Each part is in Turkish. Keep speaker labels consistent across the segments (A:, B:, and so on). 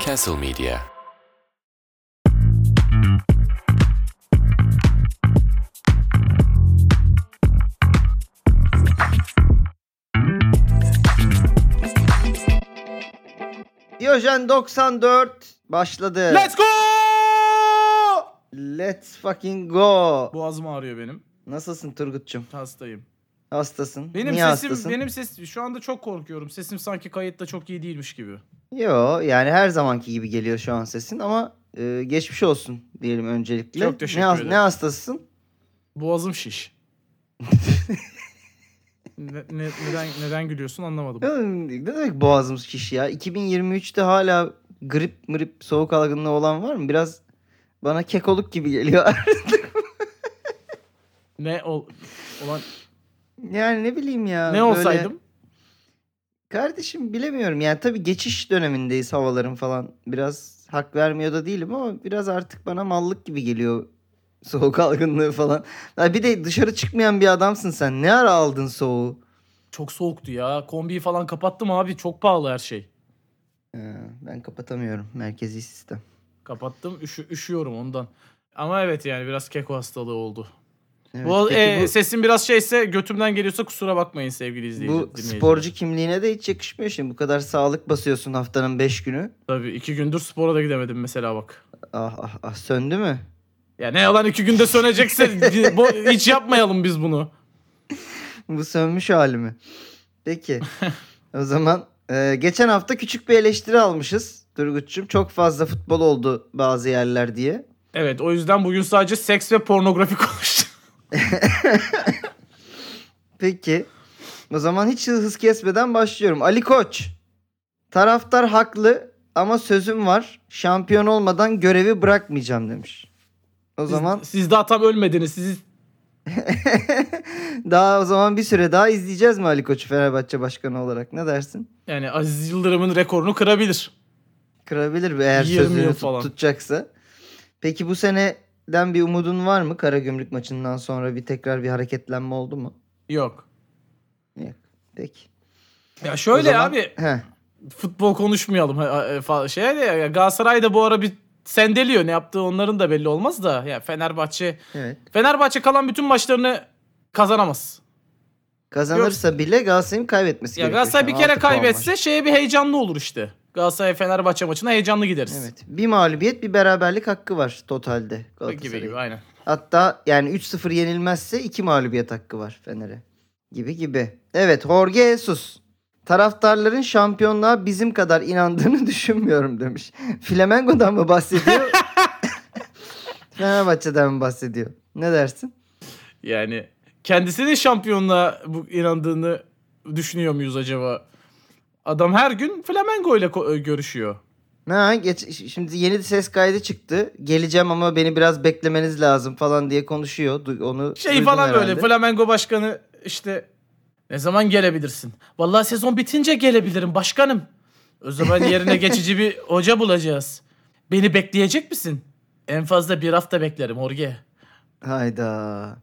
A: Castle Media.
B: Diyojen 94 başladı.
C: Let's go!
B: Let's fucking go.
C: Boğazım ağrıyor benim.
B: Nasılsın Turgut'cum?
C: Hastayım.
B: Hastasın.
C: Benim
B: Niye
C: sesim
B: hastasın?
C: benim ses şu anda çok korkuyorum. Sesim sanki kayıtta çok iyi değilmiş gibi.
B: Yo yani her zamanki gibi geliyor şu an sesin ama e, geçmiş olsun diyelim öncelikle.
C: Çok teşekkür
B: ne, has-
C: ederim.
B: Ne hastasısın?
C: Boğazım şiş. Ne- ne- neden neden gülüyorsun anlamadım.
B: Ya, Ne demek boğazımız kişi ya? 2023'te hala grip mırip soğuk algınlığı olan var mı? Biraz bana kekoluk gibi geliyor.
C: Ne ol olan
B: yani ne bileyim ya.
C: ne
B: böyle-
C: olsaydım?
B: Kardeşim bilemiyorum yani tabii geçiş dönemindeyiz havaların falan. Biraz hak vermiyor da değilim ama biraz artık bana mallık gibi geliyor soğuk algınlığı falan. Ya bir de dışarı çıkmayan bir adamsın sen. Ne ara aldın soğuğu?
C: Çok soğuktu ya. Kombiyi falan kapattım abi. Çok pahalı her şey.
B: Ee, ben kapatamıyorum merkezi sistem.
C: Kapattım. Üşü, üşüyorum ondan. Ama evet yani biraz keko hastalığı oldu.
B: Evet,
C: bu,
B: peki
C: e,
B: bu-
C: sesim biraz şeyse götümden geliyorsa kusura bakmayın sevgili izleyici.
B: bu
C: dinleyiciler.
B: sporcu kimliğine de hiç yakışmıyor şimdi. Bu kadar sağlık basıyorsun haftanın 5 günü.
C: Tabii iki gündür spora da gidemedim mesela bak.
B: Ah ah ah söndü mü?
C: Ya ne yalan iki günde sönecekse bo- hiç yapmayalım biz bunu.
B: Bu sönmüş hali mi? Peki. o zaman e, geçen hafta küçük bir eleştiri almışız. Turgut'cum çok fazla futbol oldu bazı yerler diye.
C: Evet o yüzden bugün sadece seks ve pornografi konuştuk.
B: Peki. O zaman hiç hız kesmeden başlıyorum. Ali Koç. Taraftar haklı ama sözüm var. Şampiyon olmadan görevi bırakmayacağım demiş. O zaman
C: Siz, siz daha tam ölmediniz. Siz
B: daha o zaman bir süre daha izleyeceğiz mi Ali Koç'u Fenerbahçe başkanı olarak? Ne dersin?
C: yani Aziz Yıldırım'ın rekorunu kırabilir.
B: Kırabilir bir eğer
C: 20 yıl
B: sözünü tut-
C: falan.
B: tutacaksa. Peki bu seneden bir umudun var mı? Karagümrük maçından sonra bir tekrar bir hareketlenme oldu mu?
C: Yok.
B: Yok. Peki.
C: Ya
B: O
C: şöyle
B: zaman-
C: abi
B: Heh.
C: futbol konuşmayalım ha- e, falan şey de ya, Galatasaray da bu ara bir sendeliyor. Ne yaptığı onların da belli olmaz da. Ya Fenerbahçe
B: Evet.
C: Fenerbahçe kalan bütün maçlarını kazanamaz.
B: Kazanırsa bile Galatasaray'ın kaybetmesi
C: Ya
B: gerekiyor.
C: Galatasaray
B: şu
C: bir
B: an.
C: kere
B: Altı puan var.
C: kaybetse şeye bir heyecanlı olur işte. Galatasaray Fenerbahçe maçına heyecanlı gideriz.
B: Evet. Bir mağlubiyet bir beraberlik hakkı var totalde
C: gibi gibi
B: Galatasaray'ın.
C: aynen.
B: Hatta yani 3-0 yenilmezse 2 mağlubiyet hakkı var Fener'e. Gibi gibi. Evet Jorge Jesus. Taraftarların şampiyonluğa bizim kadar inandığını düşünmüyorum demiş. Flamengo'dan mı bahsediyor? Fenerbahçe'den mi bahsediyor? Ne dersin?
C: Yani kendisinin şampiyonluğa bu inandığını düşünüyor muyuz acaba? Adam her gün Flamengo ile ko- görüşüyor.
B: Ha, geç, şimdi yeni ses kaydı çıktı. Geleceğim ama beni biraz beklemeniz lazım falan diye konuşuyor. Du- onu
C: Şey
B: duydun
C: falan
B: herhalde.
C: böyle Flamengo başkanı işte ne zaman gelebilirsin? Vallahi sezon bitince gelebilirim başkanım. O zaman yerine geçici bir hoca bulacağız. Beni bekleyecek misin? En fazla bir hafta beklerim Orge.
B: Hayda.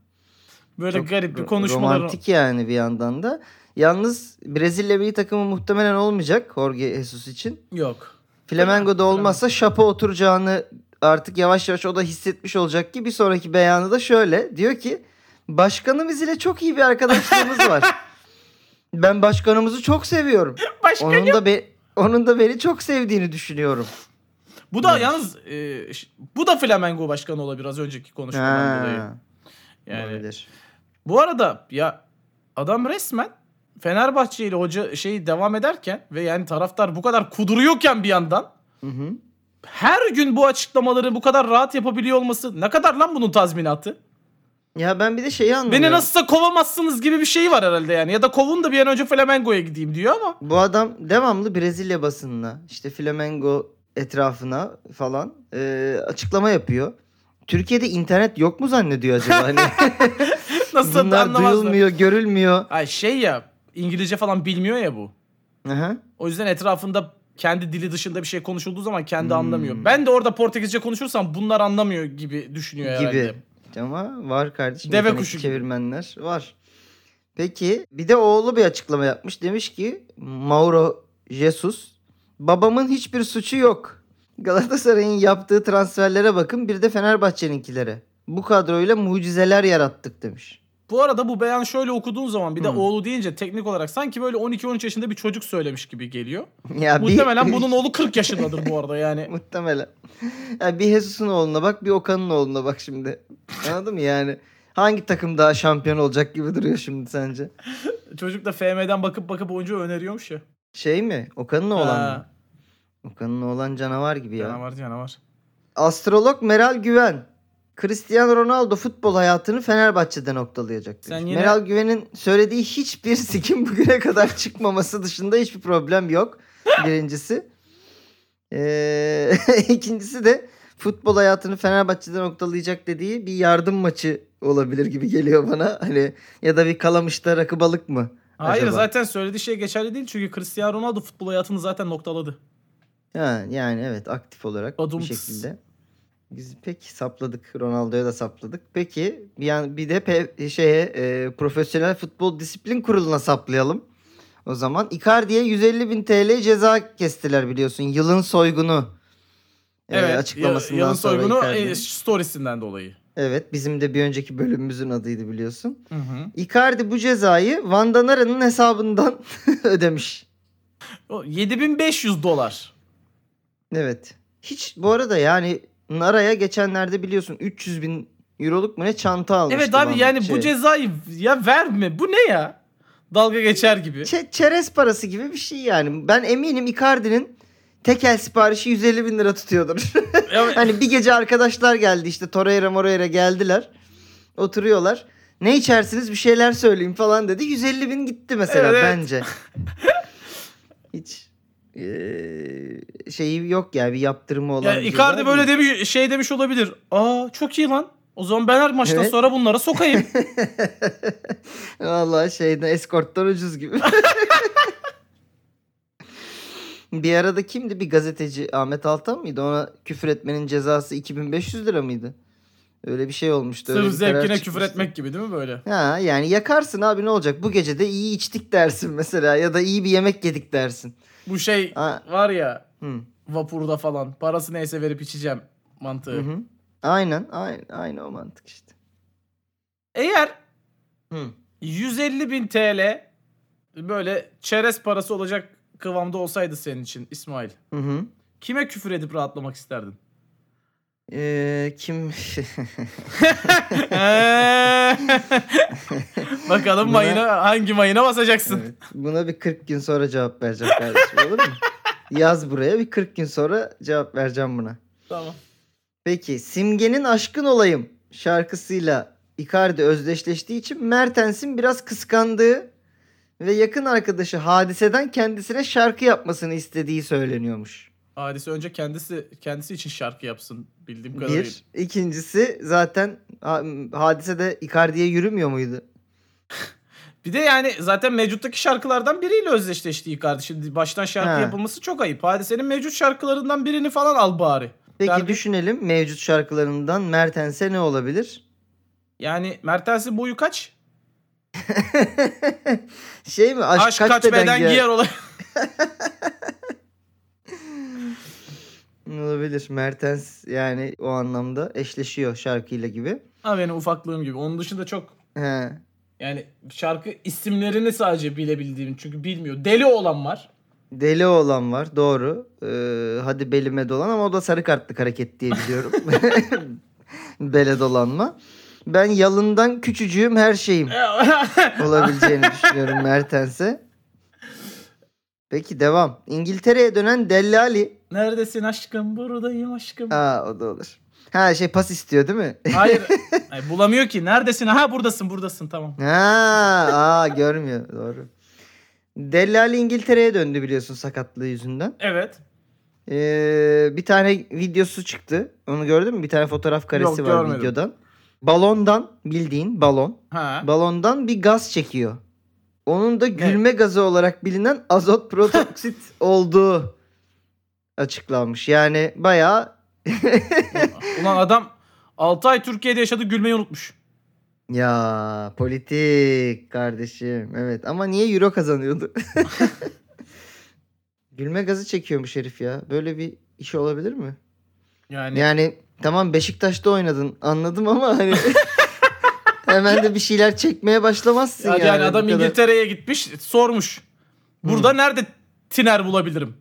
C: Böyle
B: Çok
C: garip bir
B: ro-
C: konuşmalar.
B: Romantik yani bir yandan da. Yalnız Brezilya milli takımı muhtemelen olmayacak Jorge Jesus için.
C: Yok.
B: Flamengo'da olmazsa şapa oturacağını artık yavaş yavaş o da hissetmiş olacak ki bir sonraki beyanı da şöyle. Diyor ki başkanımız ile çok iyi bir arkadaşlığımız var. Ben başkanımızı çok seviyorum.
C: Başkanım.
B: Onun da be- onun da beni çok sevdiğini düşünüyorum.
C: Bu da yalnız e, ş- bu da Flamengo başkanı olabilir az önceki konuşmadan dolayı.
B: Ha,
C: Yani
B: olabilir.
C: bu arada ya adam resmen Fenerbahçe ile hoca şey devam ederken ve yani taraftar bu kadar kuduruyorken bir yandan
B: Hı hı.
C: her gün bu açıklamaları bu kadar rahat yapabiliyor olması ne kadar lan bunun tazminatı?
B: Ya ben bir de şeyi anlamıyorum.
C: Beni nasılsa kovamazsınız gibi bir şey var herhalde yani. Ya da kovun da bir an önce Flamengo'ya gideyim diyor ama
B: Bu adam devamlı Brezilya basınına, işte Flamengo etrafına falan e, açıklama yapıyor. Türkiye'de internet yok mu zannediyor acaba? Hani
C: nasıl
B: bunlar
C: anlamazlar.
B: duyulmuyor, görülmüyor.
C: Ay şey ya İngilizce falan bilmiyor ya bu.
B: Aha.
C: O yüzden etrafında kendi dili dışında bir şey konuşulduğu zaman kendi
B: Hmm.
C: anlamıyor. Ben de orada Portekizce konuşursam bunlar anlamıyor gibi düşünüyor
B: Gibi.
C: herhalde.
B: Ama var kardeşim.
C: Deve
B: yetenekli
C: kuşu gibi.
B: Çevirmenler var. Peki bir de oğlu bir açıklama yapmış. Demiş ki Mauro Jesus babamın hiçbir suçu yok. Galatasaray'ın yaptığı transferlere bakın bir de Fenerbahçe'ninkilere. Bu kadroyla mucizeler yarattık demiş.
C: Bu arada bu beyan şöyle okuduğun zaman bir de
B: Hmm.
C: oğlu deyince teknik olarak sanki böyle 12-13 yaşında bir çocuk söylemiş gibi geliyor.
B: Ya bir-
C: Muhtemelen bunun oğlu 40 yaşındadır bu arada yani.
B: Muhtemelen. Ya bir Jesus'un oğluna bak bir Okan'ın oğluna bak şimdi. Anladın mı yani? Hangi takım daha şampiyon olacak gibi duruyor şimdi sence?
C: Çocuk da FM'den bakıp bakıp oyuncu öneriyormuş ya.
B: Şey mi? Okan'ın oğlan mı?
C: Ha,
B: Okan'ın oğlan canavar gibi ya.
C: Canavar canavar.
B: Astrolog Meral Güven. Cristiano Ronaldo futbol hayatını Fenerbahçe'de noktalayacak.
C: Sen
B: demiş.
C: yine-
B: Meral Güven'in söylediği hiçbir sikim bugüne kadar çıkmaması dışında hiçbir problem yok. Birincisi. Ee, ikincisi de futbol hayatını Fenerbahçe'de noktalayacak dediği bir yardım maçı olabilir gibi geliyor bana. Hani ya da bir kalamışta rakı balık mı?
C: Hayır
B: Acaba?
C: zaten söylediği şey geçerli değil çünkü Cristiano Ronaldo futbol hayatını zaten noktaladı.
B: Ha, yani evet aktif olarak
C: Badum
B: bir
C: tıs.
B: şekilde. Biz peki sapladık. Ronaldo'ya da sapladık. Peki bir, yan- bir de pe- şeye e, Profesyonel Futbol Disiplin Kurulu'na saplayalım. O zaman Icardi'ye 150 bin TL ceza kestiler biliyorsun. Yılın soygunu e,
C: Evet.
B: açıklamasından
C: Yalın
B: sonra
C: soygunu
B: Icardi'nin.
C: e, storysinden dolayı.
B: Evet bizim de bir önceki bölümümüzün adıydı biliyorsun.
C: Hı hı.
B: Icardi bu cezayı Van Danara'nın hesabından ödemiş.
C: O 7500 dolar.
B: Evet. Hiç bu arada yani Nara'ya geçenlerde biliyorsun 300 bin euroluk mu ne çanta almıştı.
C: Evet abi
B: bana
C: yani
B: şey.
C: bu cezayı ya verme. Bu ne ya? Dalga geçer gibi.
B: Çe- çerez parası gibi bir şey yani. Ben eminim Icardi'nin tekel siparişi 150 bin lira tutuyordur.
C: Ya-
B: hani bir gece arkadaşlar geldi işte Torreira Moreira geldiler. Oturuyorlar. Ne içersiniz bir şeyler söyleyeyim falan dedi. 150 bin gitti mesela
C: Evet, evet.
B: bence. Hiç eee, şeyi yok ya bir yaptırımı olan.
C: Ya
B: bir
C: Icardi
B: ceza
C: böyle
B: değil.
C: demiş, şey demiş olabilir. Aa çok iyi lan. O zaman ben her maçtan
B: Evet.
C: sonra bunlara sokayım.
B: Vallahi şeyden eskorttan ucuz gibi. bir arada kimdi bir gazeteci Ahmet Altan mıydı? Ona küfür etmenin cezası 2500 lira mıydı? Öyle bir şey olmuştu. öyle
C: Sırf
B: bir karar
C: zevkine küfür
B: çıkmıştı.
C: etmek gibi değil mi böyle?
B: Ha yani yakarsın abi ne olacak? Bu gece de iyi içtik dersin mesela ya da iyi bir yemek yedik dersin.
C: Bu şey
B: Ha,
C: var ya
B: hı,
C: vapurda falan parası neyse verip içeceğim mantığı.
B: hı hı. Aynen, aynen aynı o mantık işte.
C: Eğer
B: Hı.
C: 150 bin TL böyle çerez parası olacak kıvamda olsaydı senin için İsmail.
B: Hı hı.
C: Kime küfür edip rahatlamak isterdin?
B: Ee, kim
C: Eee! Bakalım
B: Buna-
C: mayına hangi mayına basacaksın?
B: Evet. Buna bir 40 gün sonra cevap vereceğim kardeşim olur mu? Yaz buraya bir 40 gün sonra cevap vereceğim buna.
C: Tamam.
B: Peki Simge'nin Aşkın Olayım şarkısıyla Icardi özdeşleştiği için Mertens'in biraz kıskandığı ve yakın arkadaşı Hadise'den kendisine şarkı yapmasını istediği söyleniyormuş.
C: Hadise önce kendisi kendisi için şarkı yapsın bildiğim kadarıyla.
B: Bir. İkincisi zaten ha- Hadise de Icardi'ye yürümüyor muydu?
C: Bir de yani zaten mevcuttaki şarkılardan biriyle özdeşleşti Icardi. Şimdi baştan şarkı
B: Ha.
C: yapılması çok ayıp. Hadisenin mevcut şarkılarından birini falan al bari.
B: Peki
C: Derbi-
B: düşünelim mevcut şarkılarından Mertens'e ne olabilir?
C: Yani Mertens'in boyu kaç?
B: şey mi? Aşk,
C: Aşk, kaç, beden, giyer, olay.
B: Olabilir. Mertens yani o anlamda eşleşiyor şarkıyla gibi.
C: ha benim ufaklığım gibi. Onun dışında çok
B: He.
C: yani şarkı isimlerini sadece bilebildiğim çünkü bilmiyor. Deli olan var.
B: Deli olan var doğru. Ee, hadi belime dolan ama o da sarı kartlık hareket diye biliyorum. Bele dolanma. Ben yalından küçücüğüm her şeyim olabileceğini düşünüyorum Mertens'e. Peki devam. İngiltere'ye dönen Dellali.
C: Neredesin aşkım? Buradayım aşkım.
B: Aa o da olur. Ha şey pas istiyor değil mi?
C: Hayır. Ay, bulamıyor ki. Neredesin? Ha buradasın buradasın tamam.
B: Ha, aa görmüyor doğru. Dellali İngiltere'ye döndü biliyorsun sakatlığı yüzünden.
C: Evet.
B: Ee, bir tane videosu çıktı. Onu gördün mü? Bir tane fotoğraf karesi
C: Yok,
B: var
C: görmedim.
B: videodan. Balondan bildiğin balon.
C: Ha.
B: Balondan bir gaz çekiyor. Onun da gülme gazı olarak bilinen azot protoksit olduğu açıklanmış. Yani bayağı
C: Ulan adam 6 ay Türkiye'de yaşadı gülmeyi unutmuş.
B: Ya politik kardeşim. Evet ama niye euro kazanıyordu? Gülme gazı çekiyormuş herif ya. Böyle bir işi olabilir mi?
C: Yani,
B: Yani tamam Beşiktaş'ta oynadın anladım ama hani hemen de bir şeyler çekmeye başlamazsın
C: yani,
B: yani. bu
C: adam
B: kadar. Hmm.
C: İngiltere'ye gitmiş sormuş. Burada nerede tiner bulabilirim?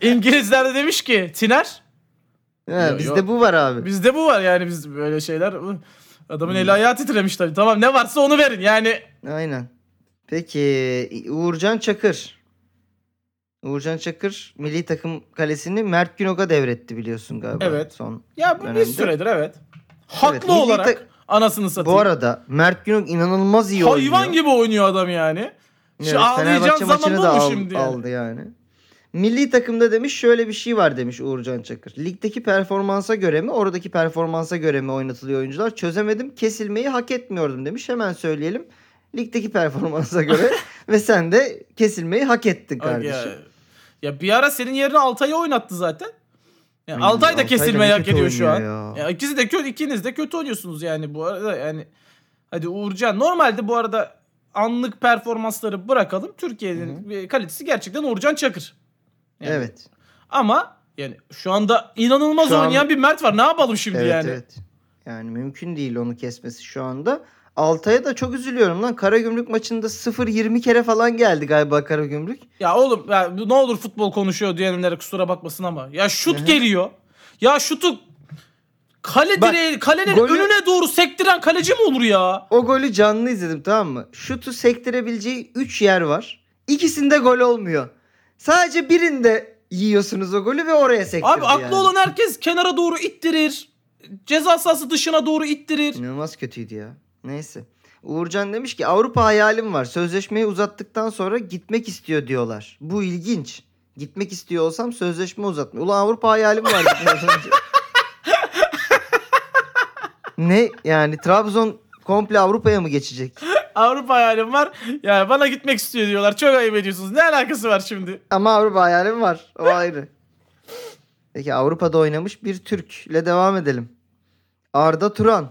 C: İngilizler de demiş ki tiner
B: He,
C: Yo,
B: bizde
C: yo.
B: bu var abi.
C: bizde bu var yani biz böyle şeyler. Adamın
B: Hmm.
C: eli ayağı titremiş tabii. Tamam ne varsa onu verin yani.
B: Aynen. Peki Uğurcan Çakır. Uğurcan Çakır milli takım kalesini Mert Günok'a devretti biliyorsun galiba.
C: Evet.
B: Son.
C: Ya bu
B: Önemli.
C: bir süredir evet. Haklı
B: milli
C: olarak
B: ta-
C: anasını satayım.
B: Bu arada Mert Günok inanılmaz iyi oynuyor.
C: Hayvan gibi şey. oynuyor adam yani.
B: Evet,
C: Şu ağlayacağın
B: Fenerbahçe
C: zaman
B: maçını
C: bu
B: da
C: mu
B: al-
C: şimdi? yani?
B: aldı yani. Milli takımda demiş şöyle bir şey var demiş Uğurcan Çakır. Ligdeki performansa göre mi oradaki performansa göre mi oynatılıyor oyuncular çözemedim kesilmeyi hak etmiyordum demiş. Hemen söyleyelim ligdeki performansa göre ve sen de kesilmeyi hak ettin
C: Ay ya.
B: kardeşim.
C: Ya bir ara senin yerine Altay'ı oynattı zaten. Yani
B: Aynen,
C: Altay da
B: Hmm, Altay
C: kesilmeyi
B: da
C: hak
B: kötü
C: ediyor şu an.
B: oynuyor ya.
C: Ya ikisi de kötü, ikiniz de kötü oynuyorsunuz yani bu arada yani. Hadi Uğurcan. Normalde bu arada anlık performansları bırakalım. Türkiye'nin bir kalitesi gerçekten Uğurcan Çakır. Yani.
B: Evet.
C: Ama yani şu anda inanılmaz
B: Şu an-
C: oynayan bir Mert var. Ne yapalım şimdi
B: Evet
C: yani?
B: evet. Yani mümkün değil onu kesmesi şu anda. Altay'a da çok üzülüyorum lan. Karagümrük maçında 0-20 kere falan geldi galiba Karagümrük.
C: Ya oğlum ya ne olur futbol konuşuyor diyenlere kusura bakmasın ama. Ya şut
B: Hı hı.
C: geliyor. Ya şutu kale
B: Bak,
C: direği kalenin
B: golü-
C: önüne doğru sektiren kaleci mi olur ya?
B: O golü canlı izledim tamam mı? Şutu sektirebileceği 3 yer var. İkisinde gol olmuyor. Sadece birinde yiyorsunuz o golü ve oraya sektirdi
C: Abi aklı
B: yani.
C: olan herkes kenara doğru ittirir. Ceza sahası dışına doğru ittirir.
B: İnanılmaz kötüydü ya. Neyse. Uğurcan demiş ki Avrupa hayalim var. Sözleşmeyi uzattıktan sonra gitmek istiyor diyorlar. Bu ilginç. Gitmek istiyor olsam sözleşme uzatma. Ulan Avrupa hayalim var. gitmeden önce. ne yani Trabzon komple Avrupa'ya mı geçecek?
C: Avrupa hayalim var. Ya bana gitmek istiyor diyorlar. Çok ayıp ediyorsunuz. Ne alakası var şimdi?
B: Ama Avrupa hayalim var. O ayrı. Peki Avrupa'da oynamış bir Türk ile devam edelim. Arda Turan.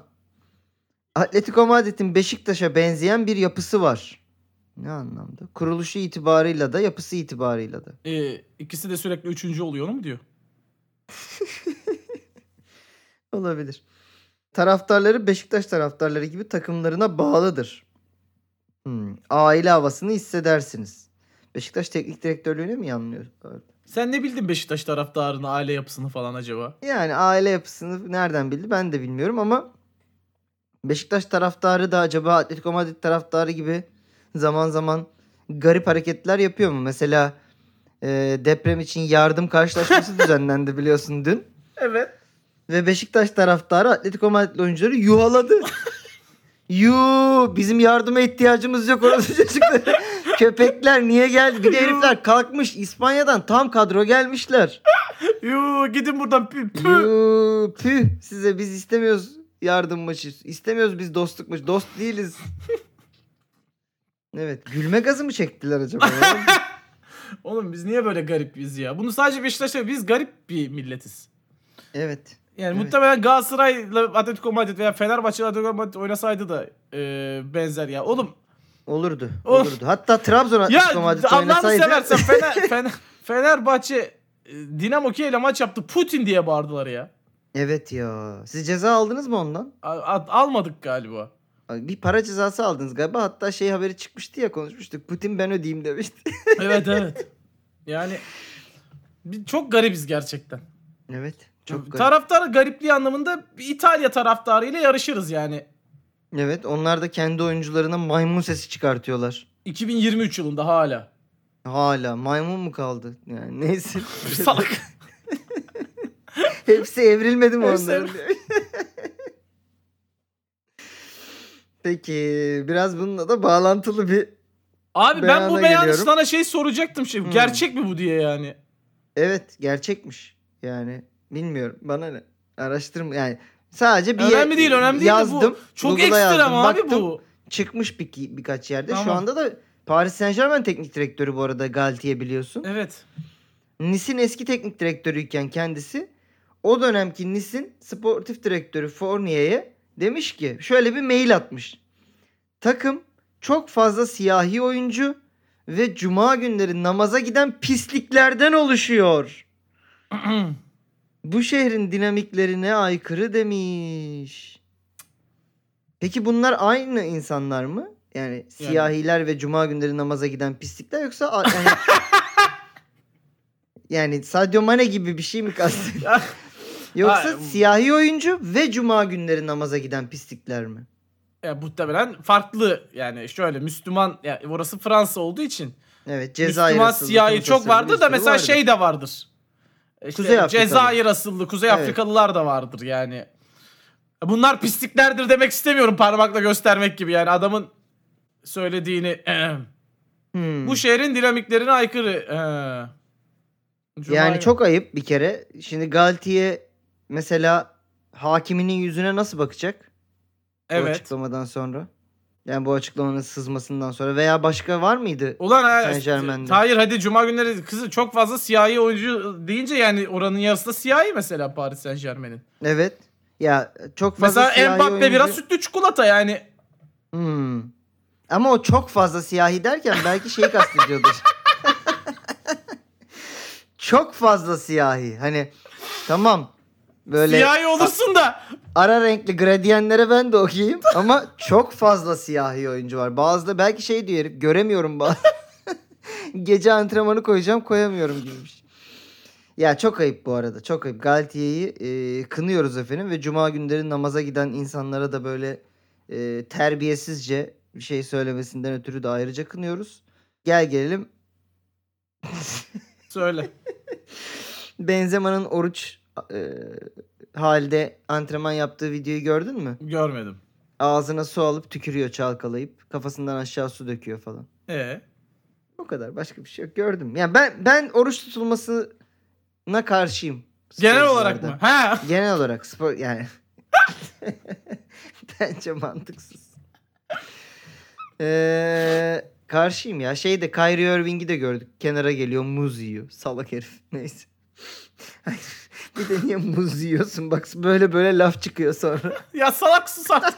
B: Atletico Madrid'in Beşiktaş'a benzeyen bir yapısı var. Ne anlamda? Kuruluşu itibarıyla da yapısı itibarıyla da.
C: Ee, ikisi de sürekli üçüncü oluyor onu mu diyor?
B: Olabilir. Taraftarları Beşiktaş taraftarları gibi takımlarına bağlıdır. Hmm, Aile havasını hissedersiniz. Beşiktaş teknik direktörlüğüne mi yanılıyor?
C: Sen ne bildin Beşiktaş taraftarını, aile yapısını falan acaba?
B: Yani aile yapısını nereden bildi ben de bilmiyorum ama Beşiktaş taraftarı da acaba Atletico Madrid taraftarı gibi zaman zaman garip hareketler yapıyor mu? Mesela e, deprem için yardım karşılaşması düzenlendi biliyorsun dün.
C: Evet.
B: Ve Beşiktaş taraftarı Atletico Madrid oyuncuları yuhaladı. Yuu bizim yardıma ihtiyacımız yok orası çocuklar. Köpekler niye geldi? Bir de herifler kalkmış İspanya'dan tam kadro gelmişler.
C: Yuu gidin buradan. Pü, pü.
B: Yuu, püh size biz istemiyoruz yardım maçı. İstemiyoruz biz dostluk maçı. Dost değiliz. evet. Gülme gazı mı çektiler acaba? ya?
C: Oğlum biz niye böyle garibiz ya? Bunu sadece Beşiktaş'ta biz garip bir milletiz.
B: evet.
C: Yani
B: Evet.
C: muhtemelen Galatasaray'la Atletico Madrid veya Fenerbahçe Atletico Madrid oynasaydı da e, benzer ya. Oğlum
B: Olurdu.
C: Of.
B: Olurdu. Hatta Trabzon
C: ya
B: Atletico Madrid
C: Allah'ını
B: oynasaydı.
C: seversen Fener, Fener- Fenerbahçe e, Dinamo Kiev'le maç yaptı. Putin diye bağırdılar ya.
B: Evet ya. Siz ceza aldınız mı ondan?
C: A- a- almadık galiba.
B: Bir para cezası aldınız galiba. Hatta şey haberi çıkmıştı ya konuşmuştuk. Putin ben ödeyeyim demişti.
C: Evet evet. Yani bir- çok garibiz gerçekten.
B: evet. Çok garip.
C: Taraftar garipliği anlamında bir İtalya taraftarıyla yarışırız yani.
B: evet. Onlar da kendi oyuncularına maymun sesi çıkartıyorlar.
C: 2023 yılında hala.
B: Hala maymun mu kaldı? Yani neyse.
C: Salak.
B: Hepsi evrilmedi mi
C: Hepsi
B: onların? Peki biraz bununla da bağlantılı bir
C: Abi ben
B: Beyana
C: bu beyanı
B: geliyorum.
C: sana şey soracaktım şey.
B: Hmm.
C: Gerçek mi bu diye yani.
B: evet gerçekmiş. Yani bilmiyorum bana ne araştırma yani sadece bir
C: önemli değil önemli değil
B: yazdım.
C: de bu. Çok
B: Google'a
C: ekstrem
B: yazdım,
C: abi
B: baktım.
C: bu.
B: Çıkmış bir, birkaç yerde. Şu
C: Tamam.
B: anda da Paris Saint Germain teknik direktörü bu arada Galtier biliyorsun.
C: Evet.
B: Nis'in eski teknik direktörüyken kendisi o dönemki Nis'in sportif direktörü Fournier'e demiş ki şöyle bir mail atmış. Takım çok fazla siyahi oyuncu ve cuma günleri namaza giden pisliklerden oluşuyor. Bu şehrin dinamiklerine aykırı demiş. Peki bunlar aynı insanlar mı? Yani siyahiler ve cuma günleri namaza giden pislikler yoksa a- yani, yani Sadio Mane gibi bir şey mi kastediyor? yoksa
C: Ha,
B: siyahi oyuncu ve cuma günleri namaza giden pislikler mi?
C: Ya muhtemelen farklı yani şöyle Müslüman ya orası Fransa olduğu için
B: Evet, Cezayir
C: Müslüman
B: asıllı
C: siyahi
B: konfesyonel
C: çok vardır
B: bir
C: da
B: sürü
C: mesela
B: vardır.
C: şey de vardır. İşte
B: Kuzey Afrikalı.
C: Cezayir asıllı Kuzey
B: Evet.
C: Afrikalılar da vardır yani. Bunlar pisliklerdir demek istemiyorum parmakla göstermek gibi yani adamın söylediğini
B: Hmm.
C: bu şehrin dinamiklerine aykırı. Ee, eee. Cuma
B: Yani
C: günü.
B: çok ayıp bir kere. Şimdi Galtiye mesela hakiminin yüzüne nasıl bakacak? Bu
C: evet.
B: açıklamadan sonra. Yani bu açıklamanın sızmasından sonra veya başka var mıydı?
C: Ulan ha,
B: Saint Germain'de.
C: hayır hadi cuma günleri kızı çok fazla siyahi oyuncu deyince yani oranın yarısı da siyahi mesela Paris Saint Germain'in.
B: Evet. Ya çok fazla
C: Mesela
B: siyahi
C: Mbappe
B: oyuncu-
C: biraz sütlü çikolata yani.
B: Hmm. Ama o çok fazla siyahi derken belki şeyi kastediyordur. çok fazla siyahi. Hani tamam. Böyle
C: Siyahi olursun da.
B: ara renkli gradiyenlere ben de okuyayım. Ama çok fazla siyahi oyuncu var. Bazı da belki şey diyor herif göremiyorum bazı. Gece antrenmanı koyacağım koyamıyorum gibi bir şey. Ya çok ayıp bu arada çok ayıp. Galatiye'yi e, kınıyoruz efendim ve cuma günleri namaza giden insanlara da böyle e, terbiyesizce bir şey söylemesinden ötürü de ayrıca kınıyoruz. Gel gelelim
C: Söyle.
B: Benzema'nın oruç e, halde antrenman yaptığı videoyu gördün mü?
C: Görmedim.
B: ağzına su alıp tükürüyor çalkalayıp kafasından aşağı su döküyor falan.
C: Ee,
B: O kadar başka bir şey yok gördüm. Yani ben ben oruç tutulmasına karşıyım.
C: genel
B: sporcularda.
C: olarak mı? Ha.
B: Genel olarak spor yani. Bence mantıksız. Ee, karşıyım ya. Şeyde Kyrie Irving'i de gördük. Kenara geliyor muz yiyor. Salak herif. Neyse. bir de niye muz yiyorsun? Bak böyle böyle laf çıkıyor sonra.
C: Ya salak susak.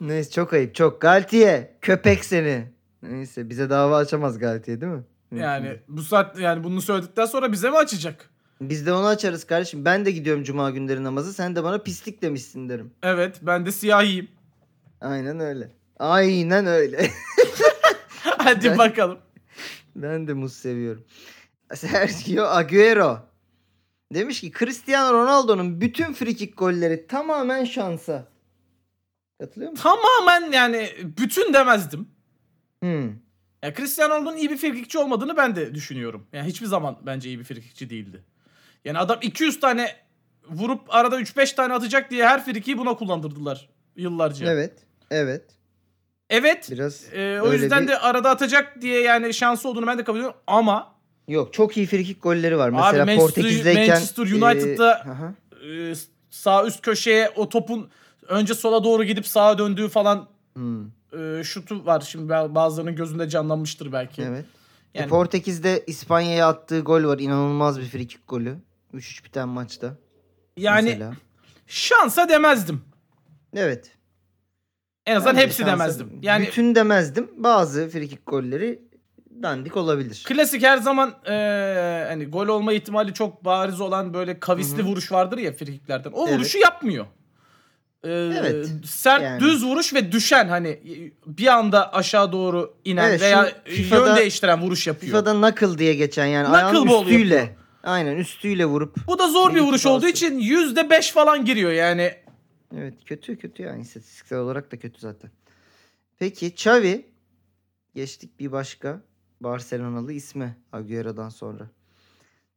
B: Neyse çok ayıp çok. Galtiye köpek seni. Neyse bize dava açamaz Galtiye değil mi?
C: yani bu saat yani bunu söyledikten sonra bize mi açacak?
B: Biz de onu açarız kardeşim. Ben de gidiyorum cuma günleri namazı. Sen de bana pislik demişsin derim.
C: Evet ben de siyahiyim.
B: Aynen öyle. Aynen öyle.
C: Hadi
B: Ben-
C: bakalım. ben
B: ben de muz seviyorum. Sergio Agüero. Demiş ki Cristiano Ronaldo'nun bütün frikik golleri tamamen şansa. Katılıyor musun?
C: Tamamen yani bütün demezdim.
B: Hmm.
C: Ya Cristiano Ronaldo'nun iyi bir frikikçi olmadığını ben de düşünüyorum. Yani hiçbir zaman bence iyi bir frikikçi değildi. Yani adam 200 tane vurup arada 3-5 tane atacak diye her frikiyi buna kullandırdılar yıllarca. Evet.
B: Evet. Evet. Biraz
C: e, o
B: öyle
C: yüzden
B: bir-
C: de arada atacak diye yani şansı olduğunu ben de kabul ediyorum ama
B: Yok çok iyi frikik golleri var. Mesela
C: Manchester-
B: Portekiz'deyken
C: Manchester United'da-
B: e, aha.
C: e, sağ üst köşeye o topun önce sola doğru gidip sağa döndüğü falan
B: Hmm,
C: e, şutu var. Şimdi ba- bazılarının gözünde canlanmıştır belki.
B: evet. E,
C: Yani-
B: Portekiz'de İspanya'ya attığı gol var. İnanılmaz bir frikik golü. 3-3 biten maçta.
C: Yani
B: mesela.
C: şansa demezdim.
B: Evet.
C: En azından
B: Ben de
C: hepsi
B: şansa-
C: demezdim. Yani
B: bütün demezdim. Bazı frikik golleri dandik olabilir.
C: Klasik her zaman eee, hani gol olma ihtimali çok bariz olan böyle kavisli
B: Hı hı.
C: vuruş vardır ya frikiklerden. O
B: Evet.
C: vuruşu yapmıyor. Eee,
B: Evet,
C: Sert
B: yani.
C: düz vuruş ve düşen hani bir anda aşağı doğru inen
B: Evet,
C: veya
B: şu FIFA'da-
C: yön değiştiren vuruş yapıyor.
B: FIFA'da knuckle diye geçen yani
C: Knuckle
B: ayağının
C: ball
B: üstüyle. Aynen üstüyle vurup.
C: Bu da zor bir
B: Bir iki
C: vuruş
B: bazı.
C: olduğu için yüzde beş falan giriyor yani.
B: Evet kötü kötü yani istatistiksel olarak da kötü zaten. Peki Xavi geçtik bir başka Barcelonalı ismi Agüero'dan sonra.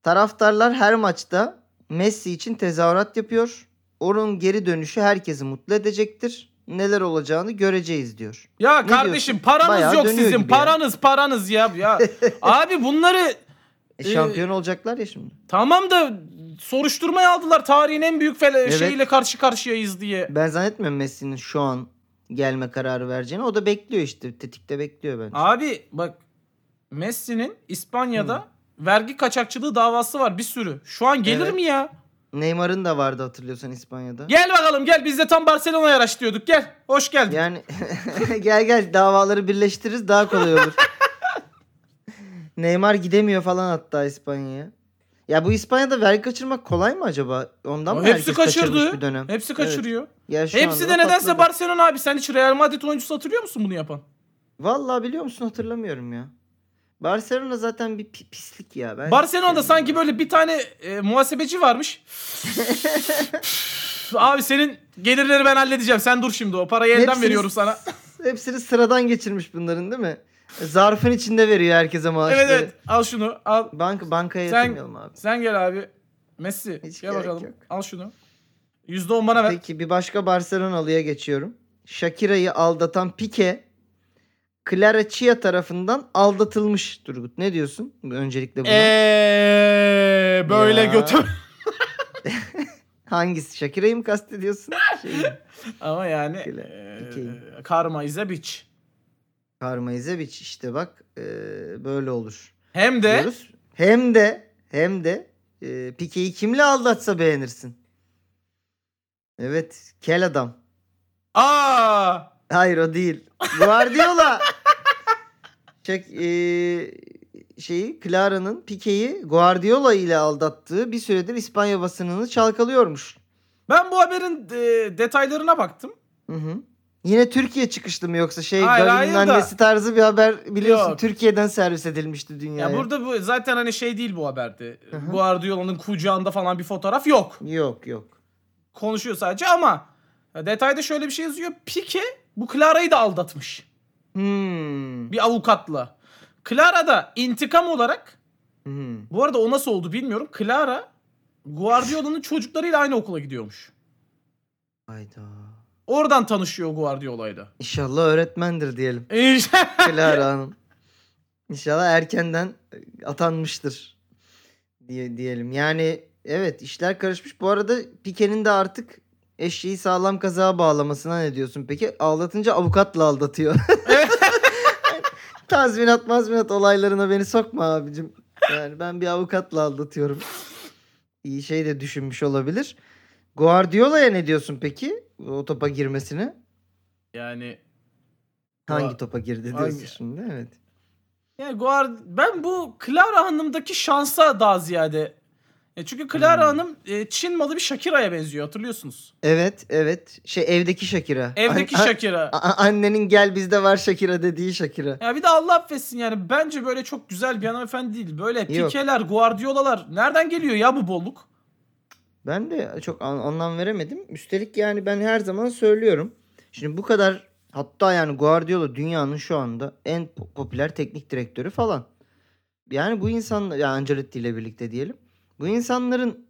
B: Taraftarlar her maçta Messi için tezahürat yapıyor. Onun geri dönüşü herkesi mutlu edecektir. Neler olacağını göreceğiz diyor.
C: Ya
B: Ne
C: kardeşim paranız
B: Bayağı
C: yok
B: dönüyor
C: sizin.
B: gibi ya.
C: Paranız paranız ya. ya. Abi bunları
B: E,
C: Ee,
B: şampiyon olacaklar ya şimdi.
C: tamam da soruşturmaya aldılar. Tarihin en büyük fele-
B: Evet.
C: şeyiyle karşı karşıyayız diye.
B: Ben zannetmiyorum Messi'nin şu an gelme kararı vereceğini. O da bekliyor işte. Tetikte bekliyor bence.
C: Abi bak Messi'nin İspanya'da vergi kaçakçılığı davası var bir sürü. Şu an gelir
B: Evet.
C: mi ya?
B: Neymar'ın da vardı hatırlıyorsan İspanya'da.
C: Gel bakalım gel biz de tam Barcelona'yı araştırıyorduk gel. Hoş geldin.
B: Yani gel gel davaları birleştiririz daha kolay olur. Neymar gidemiyor falan hatta İspanya'ya. Ya bu İspanya'da vergi kaçırmak kolay mı acaba? Ondan mı
C: Hepsi
B: herkes
C: kaçırdı.
B: kaçırmış bir dönem?
C: Hepsi
B: Evet.
C: kaçırıyor.
B: Ya şu
C: Hepsi
B: anda
C: de nedense
B: patladı.
C: Barcelona abi. Sen hiç Real Madrid oyuncusu hatırlıyor musun bunu yapan?
B: Vallahi biliyor musun hatırlamıyorum ya. Barcelona zaten bir pi- pislik ya. Ben şey-
C: Barcelona'da sanki böyle bir tane e, muhasebeci varmış. abi senin gelirleri ben halledeceğim. Sen dur şimdi o parayı elden
B: Hepsini-
C: veriyorum sana.
B: hepsini sıradan geçirmiş bunların değil mi? Zarfın içinde veriyor herkese maaşları.
C: evet evet al şunu al.
B: Banka bankaya
C: Sen-
B: yatırmayalım abi.
C: Sen gel abi. Messi
B: Hiç
C: gel
B: gerek
C: bakalım.
B: yok.
C: Al şunu. %10 bana ver.
B: Peki bir başka Barcelonalı'ya geçiyorum. Shakira'yı aldatan Pique Clara Chia tarafından aldatılmış Turgut. Ne diyorsun? Öncelikle buna.
C: Ee, Eee Ee, böyle
B: Ya.
C: götür.
B: Hangisi? Shakira'yı mı kastediyorsun? Şey, mi?
C: Ama yani
B: Şöyle,
C: eee
B: dikeyim.
C: karma is a bitch.
B: Karma İzebiç işte bak e, böyle olur.
C: Hem de
B: Diyoruz. Hem de hem de e, Pique'yi kimle aldatsa beğenirsin. Evet. Kel adam.
C: aa
B: Hayır o değil. Guardiola. Çek e, şeyi Clara'nın Pique'yi Guardiola ile aldattığı bir süredir İspanya basınını çalkalıyormuş.
C: ben bu haberin eee, detaylarına baktım.
B: Hı hı. Yine Türkiye çıkışlı mı yoksa şey
C: Hayır,
B: Gavi'nin
C: hayır da-
B: annesi tarzı bir haber biliyorsun
C: Yok.
B: Türkiye'den servis edilmişti dünyaya.
C: Ya burada bu zaten hani şey değil bu haberde.
B: Hı hı.
C: Guardiola'nın kucağında falan bir fotoğraf yok.
B: Yok yok.
C: Konuşuyor sadece ama detayda şöyle bir şey yazıyor. Pique bu Clara'yı da aldatmış.
B: Hmm.
C: Bir avukatla. Clara da intikam olarak
B: Hmm.
C: bu arada o nasıl oldu bilmiyorum. Clara Guardiola'nın çocuklarıyla aynı okula gidiyormuş.
B: Hayda.
C: Oradan tanışıyor Guardiola'yla.
B: İnşallah öğretmendir diyelim
C: İşte-
B: Clara Hanım. İnşallah erkenden atanmıştır diye diyelim. Yani evet işler karışmış. Bu arada Pike'nin de artık eşeği sağlam kazığa bağlamasına ne diyorsun peki? Aldatınca avukatla aldatıyor. Tazminat mazminat olaylarına beni sokma abicim. Yani ben bir avukatla aldatıyorum. İyi şey de düşünmüş olabilir. Guardiola'ya ne diyorsun peki? O topa girmesine.
C: yani
B: Hangi
C: Gua-
B: topa girdi diyorsun
C: Hangi?
B: şimdi? Evet.
C: yani Guard ben bu Clara Hanım'daki şansa daha ziyade E çünkü Clara
B: Hmm.
C: Hanım e, Çin malı bir Shakira'ya benziyor hatırlıyorsunuz.
B: Evet, evet. Şey evdeki Shakira.
C: Evdeki
B: An- an-
C: Shakira.
B: a- a- annenin gel bizde var Shakira dediği Shakira.
C: Ya bir de Allah affetsin yani bence böyle çok güzel bir hanımefendi değil. Böyle
B: Yok.
C: pikeler, guardiolalar nereden geliyor ya bu bolluk?
B: Ben de çok an- anlam veremedim. Üstelik yani ben her zaman söylüyorum. Şimdi bu kadar hatta yani Guardiola dünyanın şu anda en po- popüler teknik direktörü falan. Yani bu insanlar yani Ancelotti ile birlikte diyelim. Bu insanların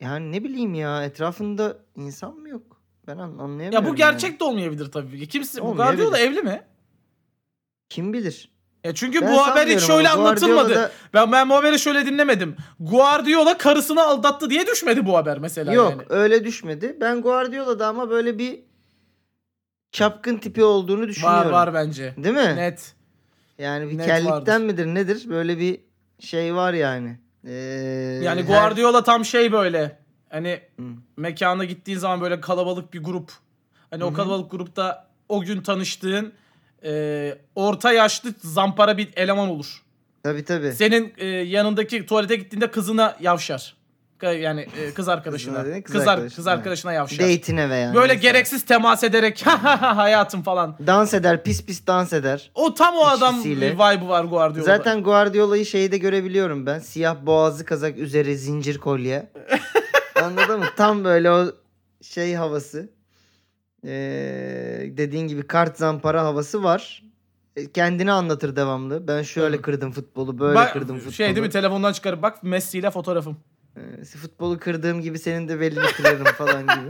B: yani ne bileyim ya etrafında insan mı yok? Ben an- anlayamıyorum.
C: Ya bu
B: yani.
C: gerçek de olmayabilir tabii. Kimse bu
B: Olmayabilir.
C: Guardiola evli mi?
B: Kim bilir?
C: Ya çünkü
B: Ben
C: bu haber hiç
B: sanmıyorum
C: şöyle
B: ama Guardiola
C: anlatılmadı.
B: da-
C: Ben ben bu haberi şöyle dinlemedim. Guardiola karısını aldattı diye düşmedi bu haber mesela
B: Yok
C: yani.
B: öyle düşmedi. Ben Guardiola'da ama böyle bir çapkın tipi olduğunu düşünüyorum.
C: Var var bence.
B: Değil mi?
C: Net.
B: Yani bir
C: net
B: kellikten
C: vardır.
B: midir nedir? Böyle bir şey var yani. Ee,
C: Yani
B: her-
C: Guardiola tam şey böyle. Hani
B: Hı.
C: mekana gittiğin zaman böyle kalabalık bir grup. Hani
B: Hı
C: o
B: hı.
C: kalabalık grupta o gün tanıştığın e, orta yaşlı zampara bir eleman olur.
B: Tabii tabii.
C: Senin e, yanındaki tuvalete gittiğinde kızına yavşar. Ka- Yani e, kız arkadaşına.
B: Kızına değil,
C: kız,
B: kız
C: ar-
B: arkadaşına.
C: kız arkadaşına yavşar.
B: Date'ine veya.
C: Böyle
B: neyse.
C: gereksiz temas ederek "Ha, ha, ha, hayatım falan.
B: Dans eder. Pis pis dans eder.
C: O tam o adam
B: İçkisiyle.
C: vibe'ı var Guardiola'da.
B: Zaten Guardiola'yı şeyde görebiliyorum ben. Siyah boğazlı kazak üzeri zincir kolye. Anladın mı? Tam böyle o şey havası. Ee, dediğin gibi kart zampara havası var. E, Kendini anlatır devamlı. Ben şöyle
C: Tabii.
B: kırdım futbolu, böyle
C: Bak,
B: kırdım futbolu.
C: Şey değil mi telefondan çıkarıp bak Messi ile fotoğrafım.
B: Ee, futbolu kırdığım gibi senin de belini kırarım falan gibi.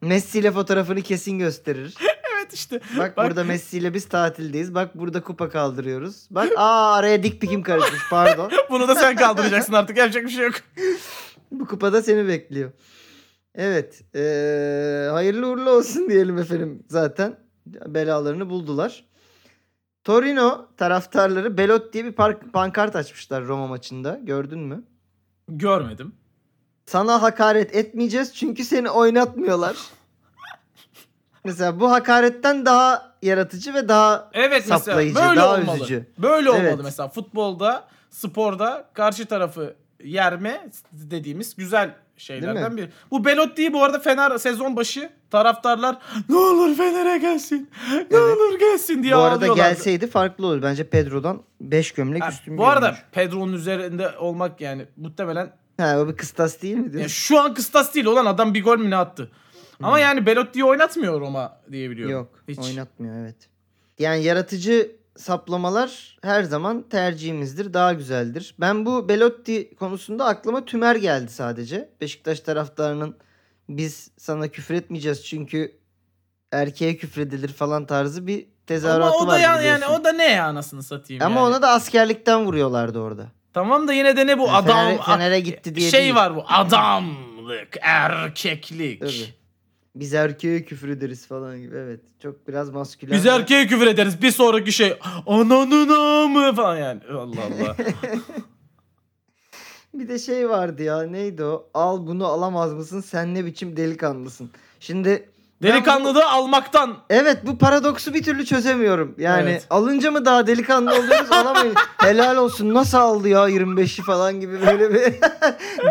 B: Messi ile fotoğrafını kesin gösterir.
C: Evet işte.
B: Bak,
C: Bak.
B: burada Messi ile biz tatildeyiz. Bak burada kupa kaldırıyoruz. Bak aa araya dik pikim karışmış pardon.
C: Bunu da sen kaldıracaksın artık yapacak bir şey yok.
B: Bu kupada seni bekliyor. Evet. eee, hayırlı uğurlu olsun diyelim efendim zaten. Belalarını buldular. Torino taraftarları Belot diye bir park, pankart açmışlar Roma maçında. Gördün mü?
C: Görmedim.
B: Sana hakaret etmeyeceğiz çünkü seni oynatmıyorlar. Mesela bu hakaretten daha yaratıcı ve daha
C: Evet
B: Saplayıcı,
C: mesela böyle
B: daha
C: olmalı.
B: üzücü.
C: Böyle
B: Evet.
C: olmalı mesela futbolda, sporda karşı tarafı yerme dediğimiz güzel
B: Değil mi?
C: şeylerden biri. Bu Belotti'yi bu arada Fener sezon başı taraftarlar ne olur Fener'e gelsin. Ne olur gelsin diye
B: bu arada
C: ağlıyorlardı.
B: gelseydi farklı olur. Bence Pedro'dan 5 gömlek
C: Ha,
B: üstün
C: bu arada
B: görünmüş.
C: Pedro'nun üzerinde olmak yani muhtemelen
B: Ha, o bir kıstas değil mi?
C: ya
B: diyorsun?
C: şu an kıstas değil olan adam bir gol mü ne attı. Ama yani Belotti'yi oynatmıyor Roma diye biliyorum.
B: Yok
C: Hiç.
B: oynatmıyor evet. Yani yaratıcı saplamalar her zaman tercihimizdir. Daha güzeldir. Ben bu Belotti konusunda aklıma tümer geldi sadece. Beşiktaş taraftarının biz sana küfür etmeyeceğiz çünkü erkeğe küfredilir falan tarzı bir
C: Ama
B: tezahüratı
C: o da
B: vardı
C: yani, yani
B: biliyorsun.
C: o da ne ya anasını satayım
B: Ama
C: yani.
B: ona da askerlikten vuruyorlardı orada.
C: Tamam da yine de ne bu
B: Yani
C: adam
B: Fener'e- Fener'e gitti diye
C: şey
B: değil.
C: var bu adamlık, erkeklik.
B: Tabii. Biz erkeğe küfür ederiz falan gibi evet. Çok biraz maskülen.
C: Biz
B: ve-
C: erkeğe küfür ederiz. Bir sonraki şey ananın amı falan yani. Allah Allah.
B: Bir de şey vardı ya neydi o? Al bunu alamaz mısın? Sen ne biçim delikanlısın? Şimdi
C: Delikanlı da almaktan.
B: evet bu paradoksu bir türlü çözemiyorum. Yani
C: Evet.
B: alınca mı daha delikanlı oluyoruz alamayın. Helal olsun nasıl aldı ya 25'i falan gibi böyle bir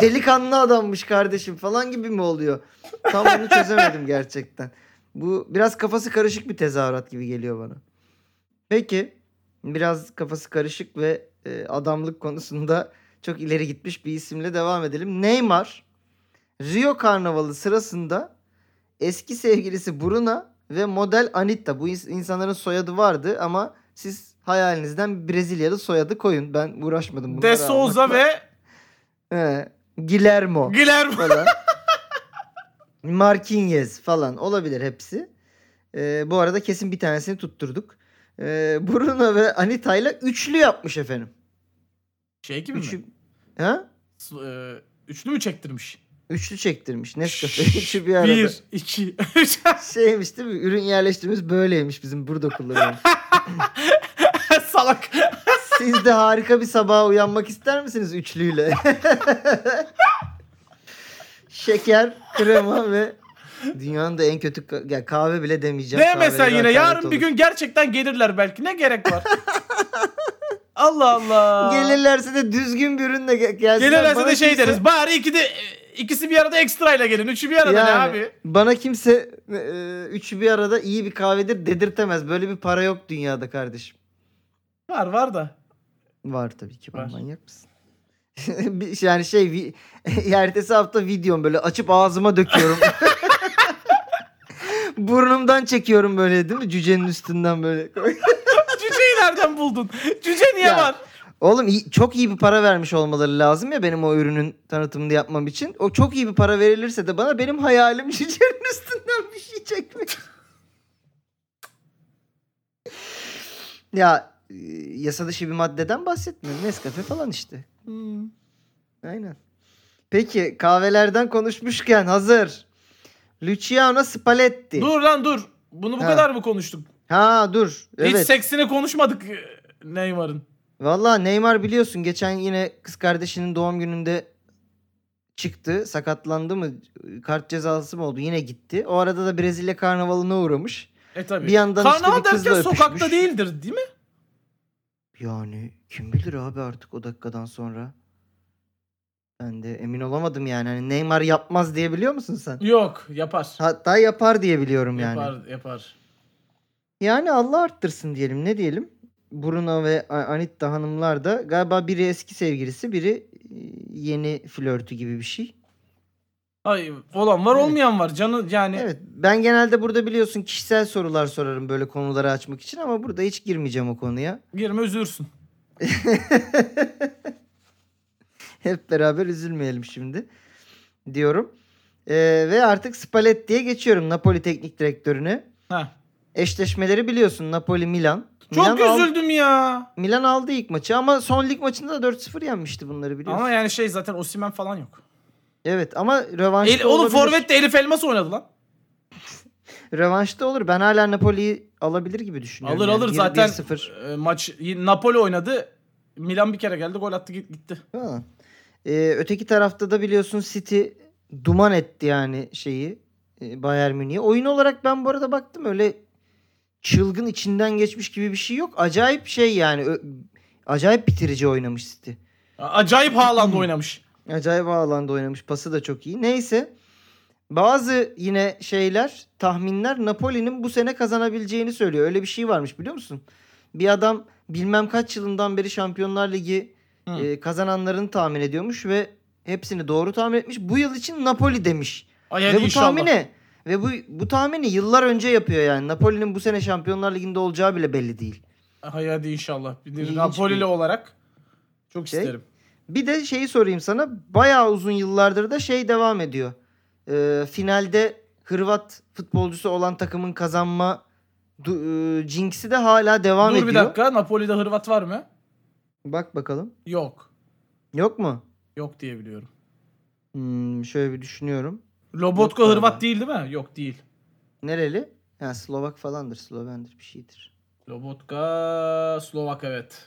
B: delikanlı adammış kardeşim falan gibi mi oluyor? Tam bunu çözemedim gerçekten. Bu biraz kafası karışık bir tezahürat gibi geliyor bana. Peki biraz kafası karışık ve e, adamlık konusunda çok ileri gitmiş bir isimle devam edelim. Neymar Rio Karnavalı sırasında eski sevgilisi Bruna ve model Anita bu ins- insanların soyadı vardı ama siz hayalinizden Brezilyalı soyadı koyun. Ben uğraşmadım bunlara.
C: De Souza ve
B: He, Guillermo
C: Guillermo.
B: falan. Marquinhos falan olabilir hepsi. Ee, bu arada kesin bir tanesini tutturduk. Ee, Bruno ve Anita'yla üçlü yapmış efendim.
C: Şey gibi
B: Üçü,
C: mi?
B: ha?
C: S- e, Üçlü mü çektirmiş?
B: Üçlü çektirmiş. Nescafe üçü bir arada.
C: Bir, iki, üç.
B: Şeymiş değil mi? Ürün yerleştirmemiz böyleymiş bizim burada kullanıyoruz.
C: Salak.
B: Siz de harika bir sabaha uyanmak ister misiniz üçlüyle? Şeker, krema ve dünyanın da en kötü ka- ya kahve bile demeyeceğim.
C: Ne
B: Kahvelere
C: mesela yine
B: hakaret
C: yarın bir
B: olur.
C: gün gerçekten gelirler belki. Ne gerek var? Allah Allah.
B: Gelirlerse de düzgün bir ürünle ge- gelsinler.
C: Gelirlerse
B: Bana
C: de şey
B: kimse-
C: deriz. Bari iki de ikisi bir arada ekstra ile gelin. Üçü bir arada
B: Yani
C: ne abi?
B: Bana kimse e, üçü bir arada iyi bir kahvedir dedirtemez. Böyle bir para yok dünyada kardeşim.
C: Var var da.
B: Var tabii ki. Var.
C: Var.
B: Manyak mısın? Bir- yani şey vi- ertesi hafta videom böyle açıp ağzıma döküyorum. Burnumdan çekiyorum böyle değil mi? Cücenin üstünden böyle.
C: Cüceyi nereden buldun? Cüce niye
B: Ya.
C: var?
B: Oğlum iyi- çok iyi bir para vermiş olmaları lazım ya benim o ürünün tanıtımını yapmam için. O çok iyi bir para verilirse de bana benim hayalim cücenin üstünden bir şey çekmek. ya e, yasa dışı bir maddeden bahsetmiyorum. Nescafe falan işte.
C: Hmm.
B: Aynen. Peki kahvelerden konuşmuşken hazır. Luciano Spalletti.
C: Dur lan dur. Bunu bu
B: Ha.
C: kadar mı konuştuk?
B: Ha dur.
C: Hiç
B: Evet.
C: seksini konuşmadık e, Neymar'ın.
B: Vallahi Neymar biliyorsun geçen yine kız kardeşinin doğum gününde çıktı. Sakatlandı mı? Kart cezası mı oldu? Yine gitti. O arada da Brezilya karnavalına uğramış.
C: E tabii.
B: Bir yandan işte
C: Karnaval
B: bir kızla
C: derken
B: öpüşmüş.
C: sokakta değildir değil mi?
B: Yani kim bilir abi artık o dakikadan sonra. Ben de emin olamadım yani. Hani Neymar yapmaz diye biliyor musun sen?
C: Yok yapar.
B: Hatta yapar diye biliyorum yani.
C: Yapar yapar.
B: Yani Allah arttırsın diyelim ne diyelim. Bruno ve A- Anitta hanımlar da galiba biri eski sevgilisi biri e, yeni flörtü gibi bir şey.
C: Ay olan var
B: Evet.
C: olmayan var. Canı yani
B: Evet ben genelde burada biliyorsun kişisel sorular sorarım böyle konuları açmak için ama burada hiç girmeyeceğim o konuya.
C: girme üzülürsün.
B: Hep beraber üzülmeyelim şimdi diyorum. E, ve artık Spalletti'ye geçiyorum Napoli teknik direktörüne.
C: Ha.
B: Eşleşmeleri biliyorsun Napoli-Milan.
C: Çok
B: Milan al-
C: üzüldüm ya.
B: Milan aldı ilk maçı ama son lig maçında da 4-0 yenmişti bunları biliyorsun.
C: Ama yani şey zaten Osimen falan yok.
B: Evet ama rövanşta
C: El, oğlum
B: olabilir.
C: Forvet de Elif Elmas oynadı lan.
B: Rövanşta olur. Ben hala Napoli'yi alabilir gibi düşünüyorum.
C: Alır
B: yani.
C: alır
B: Bir-
C: zaten
B: 1-0
C: e, maç Napoli oynadı. Milan bir kere geldi gol attı git- gitti.
B: falan. Ee, öteki tarafta da biliyorsun City duman etti yani şeyi e, Bayern Münih'e. Oyun olarak ben bu arada baktım öyle çılgın içinden geçmiş gibi bir şey yok. Acayip şey yani. Ö- acayip bitirici oynamış City.
C: A- Acayip Haaland oynamış.
B: Acayip alanda oynamış. Pası da çok iyi. Neyse. Bazı yine şeyler, tahminler Napoli'nin bu sene kazanabileceğini söylüyor. Öyle bir şey varmış biliyor musun? Bir adam bilmem kaç yılından beri Şampiyonlar Ligi
C: Hı.
B: e, kazananlarını tahmin ediyormuş ve hepsini doğru tahmin etmiş. Bu yıl için Napoli demiş.
C: Ay
B: Ve
C: hadi
B: bu
C: inşallah.
B: tahmini ve bu bu tahmini yıllar önce yapıyor yani. Napoli'nin bu sene Şampiyonlar Ligi'nde olacağı bile belli değil.
C: Ay hadi inşallah. Bir
B: İlginç
C: Napoli'li
B: bir-
C: olarak çok
B: Şey,
C: isterim.
B: Bir de şeyi sorayım sana. Bayağı uzun yıllardır da şey devam ediyor. Ee, finalde Hırvat futbolcusu olan takımın kazanma du- e, jinx'i de hala devam
C: Dur
B: ediyor.
C: bir dakika. Napoli'de Hırvat var mı?
B: Bak bakalım.
C: Yok.
B: Yok mu?
C: Yok diye biliyorum.
B: Hmm, şöyle bir düşünüyorum.
C: Lobotka
B: Yok
C: Hırvat
B: galiba.
C: değil değil mi? Yok değil.
B: Nereli? Ha, Slovak falandır. Slovendir bir şeydir.
C: Lobotka Slovak evet.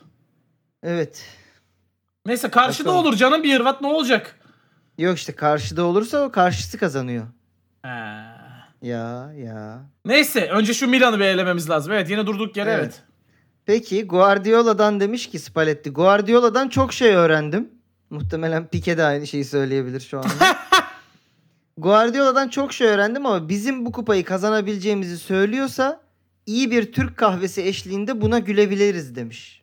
B: Evet.
C: Neyse karşıda
B: Bakalım.
C: olur canım bir Hırvat ne olacak?
B: Yok işte karşıda olursa o karşısı kazanıyor.
C: He.
B: Ya ya.
C: Neyse önce şu Milan'ı bir elememiz lazım. Evet yine durduk yere
B: Evet.
C: evet.
B: Peki Guardiola'dan demiş ki Spalletti. Guardiola'dan çok şey öğrendim. Muhtemelen Pique de aynı şeyi söyleyebilir şu anda. Guardiola'dan çok şey öğrendim ama bizim bu kupayı kazanabileceğimizi söylüyorsa iyi bir Türk kahvesi eşliğinde buna gülebiliriz demiş.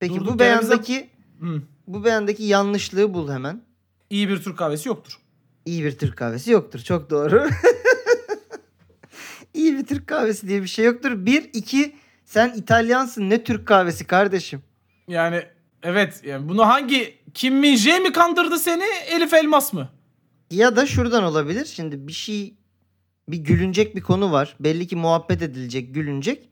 B: Peki
C: Durduk
B: bu
C: yere bize-
B: beyandaki
C: Hı.
B: bu beyandaki yanlışlığı bul hemen.
C: İyi bir Türk kahvesi yoktur.
B: İyi bir Türk kahvesi yoktur. Çok doğru. iyi bir Türk kahvesi diye bir şey yoktur. Bir, iki sen İtalyansın ne Türk kahvesi kardeşim.
C: Yani evet yani bunu hangi Kim Min Jae mi kandırdı seni Elif Elmas mı?
B: Ya da şuradan olabilir. Şimdi bir şey bir gülünecek bir konu var. Belli ki muhabbet edilecek, gülünecek.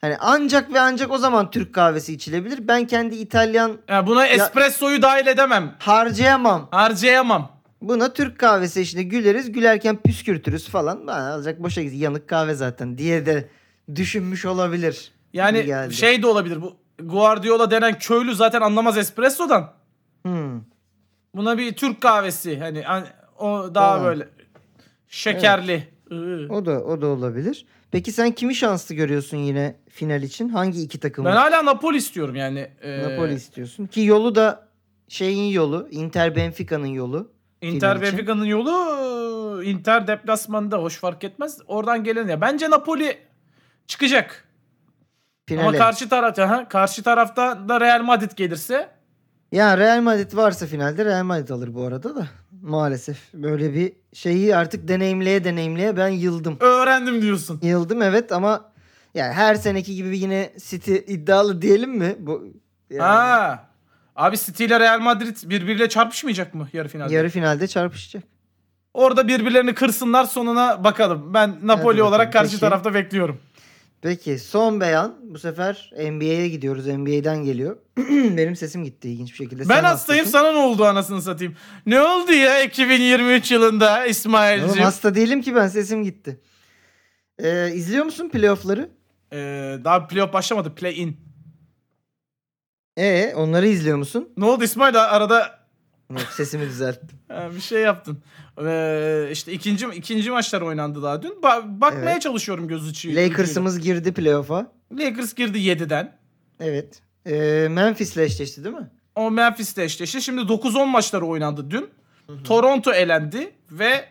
B: Hani ancak ve ancak o zaman Türk kahvesi içilebilir. Ben kendi İtalyan
C: Yani buna espressoyu dahil edemem.
B: harcayamam.
C: Harcayamam.
B: Buna Türk kahvesi işte güleriz. Gülerken püskürtürüz falan. Ben azıcık boşa gidiyor. Yanık kahve zaten diye de düşünmüş olabilir. gibi
C: Yani
B: geldi.
C: şey de olabilir bu Guardiola denen köylü zaten anlamaz espressodan.
B: Hmm.
C: Buna bir Türk kahvesi hani an- o daha
B: Tamam.
C: böyle şekerli. Iı.
B: O da o da olabilir. Peki sen kimi şanslı görüyorsun yine final için? Hangi iki takımı?
C: Ben hala Napoli istiyorum yani. Ee,
B: Napoli istiyorsun. Ki yolu da şeyin yolu. Inter Benfica'nın yolu.
C: Inter
B: Final için.
C: Benfica'nın yolu Inter deplasmanında hoş fark etmez. Oradan gelen ya. Bence Napoli çıkacak.
B: Finale.
C: Ama karşı tarafta ha karşı tarafta da Real Madrid gelirse
B: Ya Real Madrid varsa finalde Real Madrid alır bu arada da. Maalesef böyle bir şeyi artık deneyimleye deneyimleye ben yıldım.
C: öğrendim diyorsun.
B: Yıldım evet ama yani her seneki gibi yine City iddialı diyelim mi? Bu yani
C: Ha. Abi City ile Real Madrid birbiriyle çarpışmayacak mı yarı finalde?
B: yarı finalde çarpışacak.
C: Orada birbirlerini kırsınlar sonuna bakalım. Ben Napoli
B: bakalım,
C: olarak karşı
B: peki.
C: tarafta bekliyorum.
B: Peki son beyan bu sefer NBA'ye gidiyoruz. NBA'den geliyor. Benim sesim gitti ilginç bir şekilde.
C: ben
B: E Sen
C: hastayım
B: hastasın.
C: sana ne oldu anasını satayım? Ne oldu ya 2023 yılında
B: Oğlum
C: İsmail'cim?
B: hasta değilim ki ben sesim gitti. Ee, izliyor musun playoffları?
C: Ee, daha playoff başlamadı play in.
B: Ee, onları izliyor musun?
C: Ne oldu İsmail arada
B: Yok, sesimi düzelttim.
C: Ha, bir şey yaptın. Ee, işte ikinci ikinci maçlar oynandı daha dün. Ba- bakmaya
B: Evet.
C: çalışıyorum göz ucu.
B: Lakers'ımız girdi playoff'a.
C: ucuyla. Lakers girdi 7'den.
B: Evet. Ee, Memphis'le eşleşti değil mi?
C: O Memphis'le eşleşti. Şimdi 9-10 maçları oynandı dün. Toronto elendi ve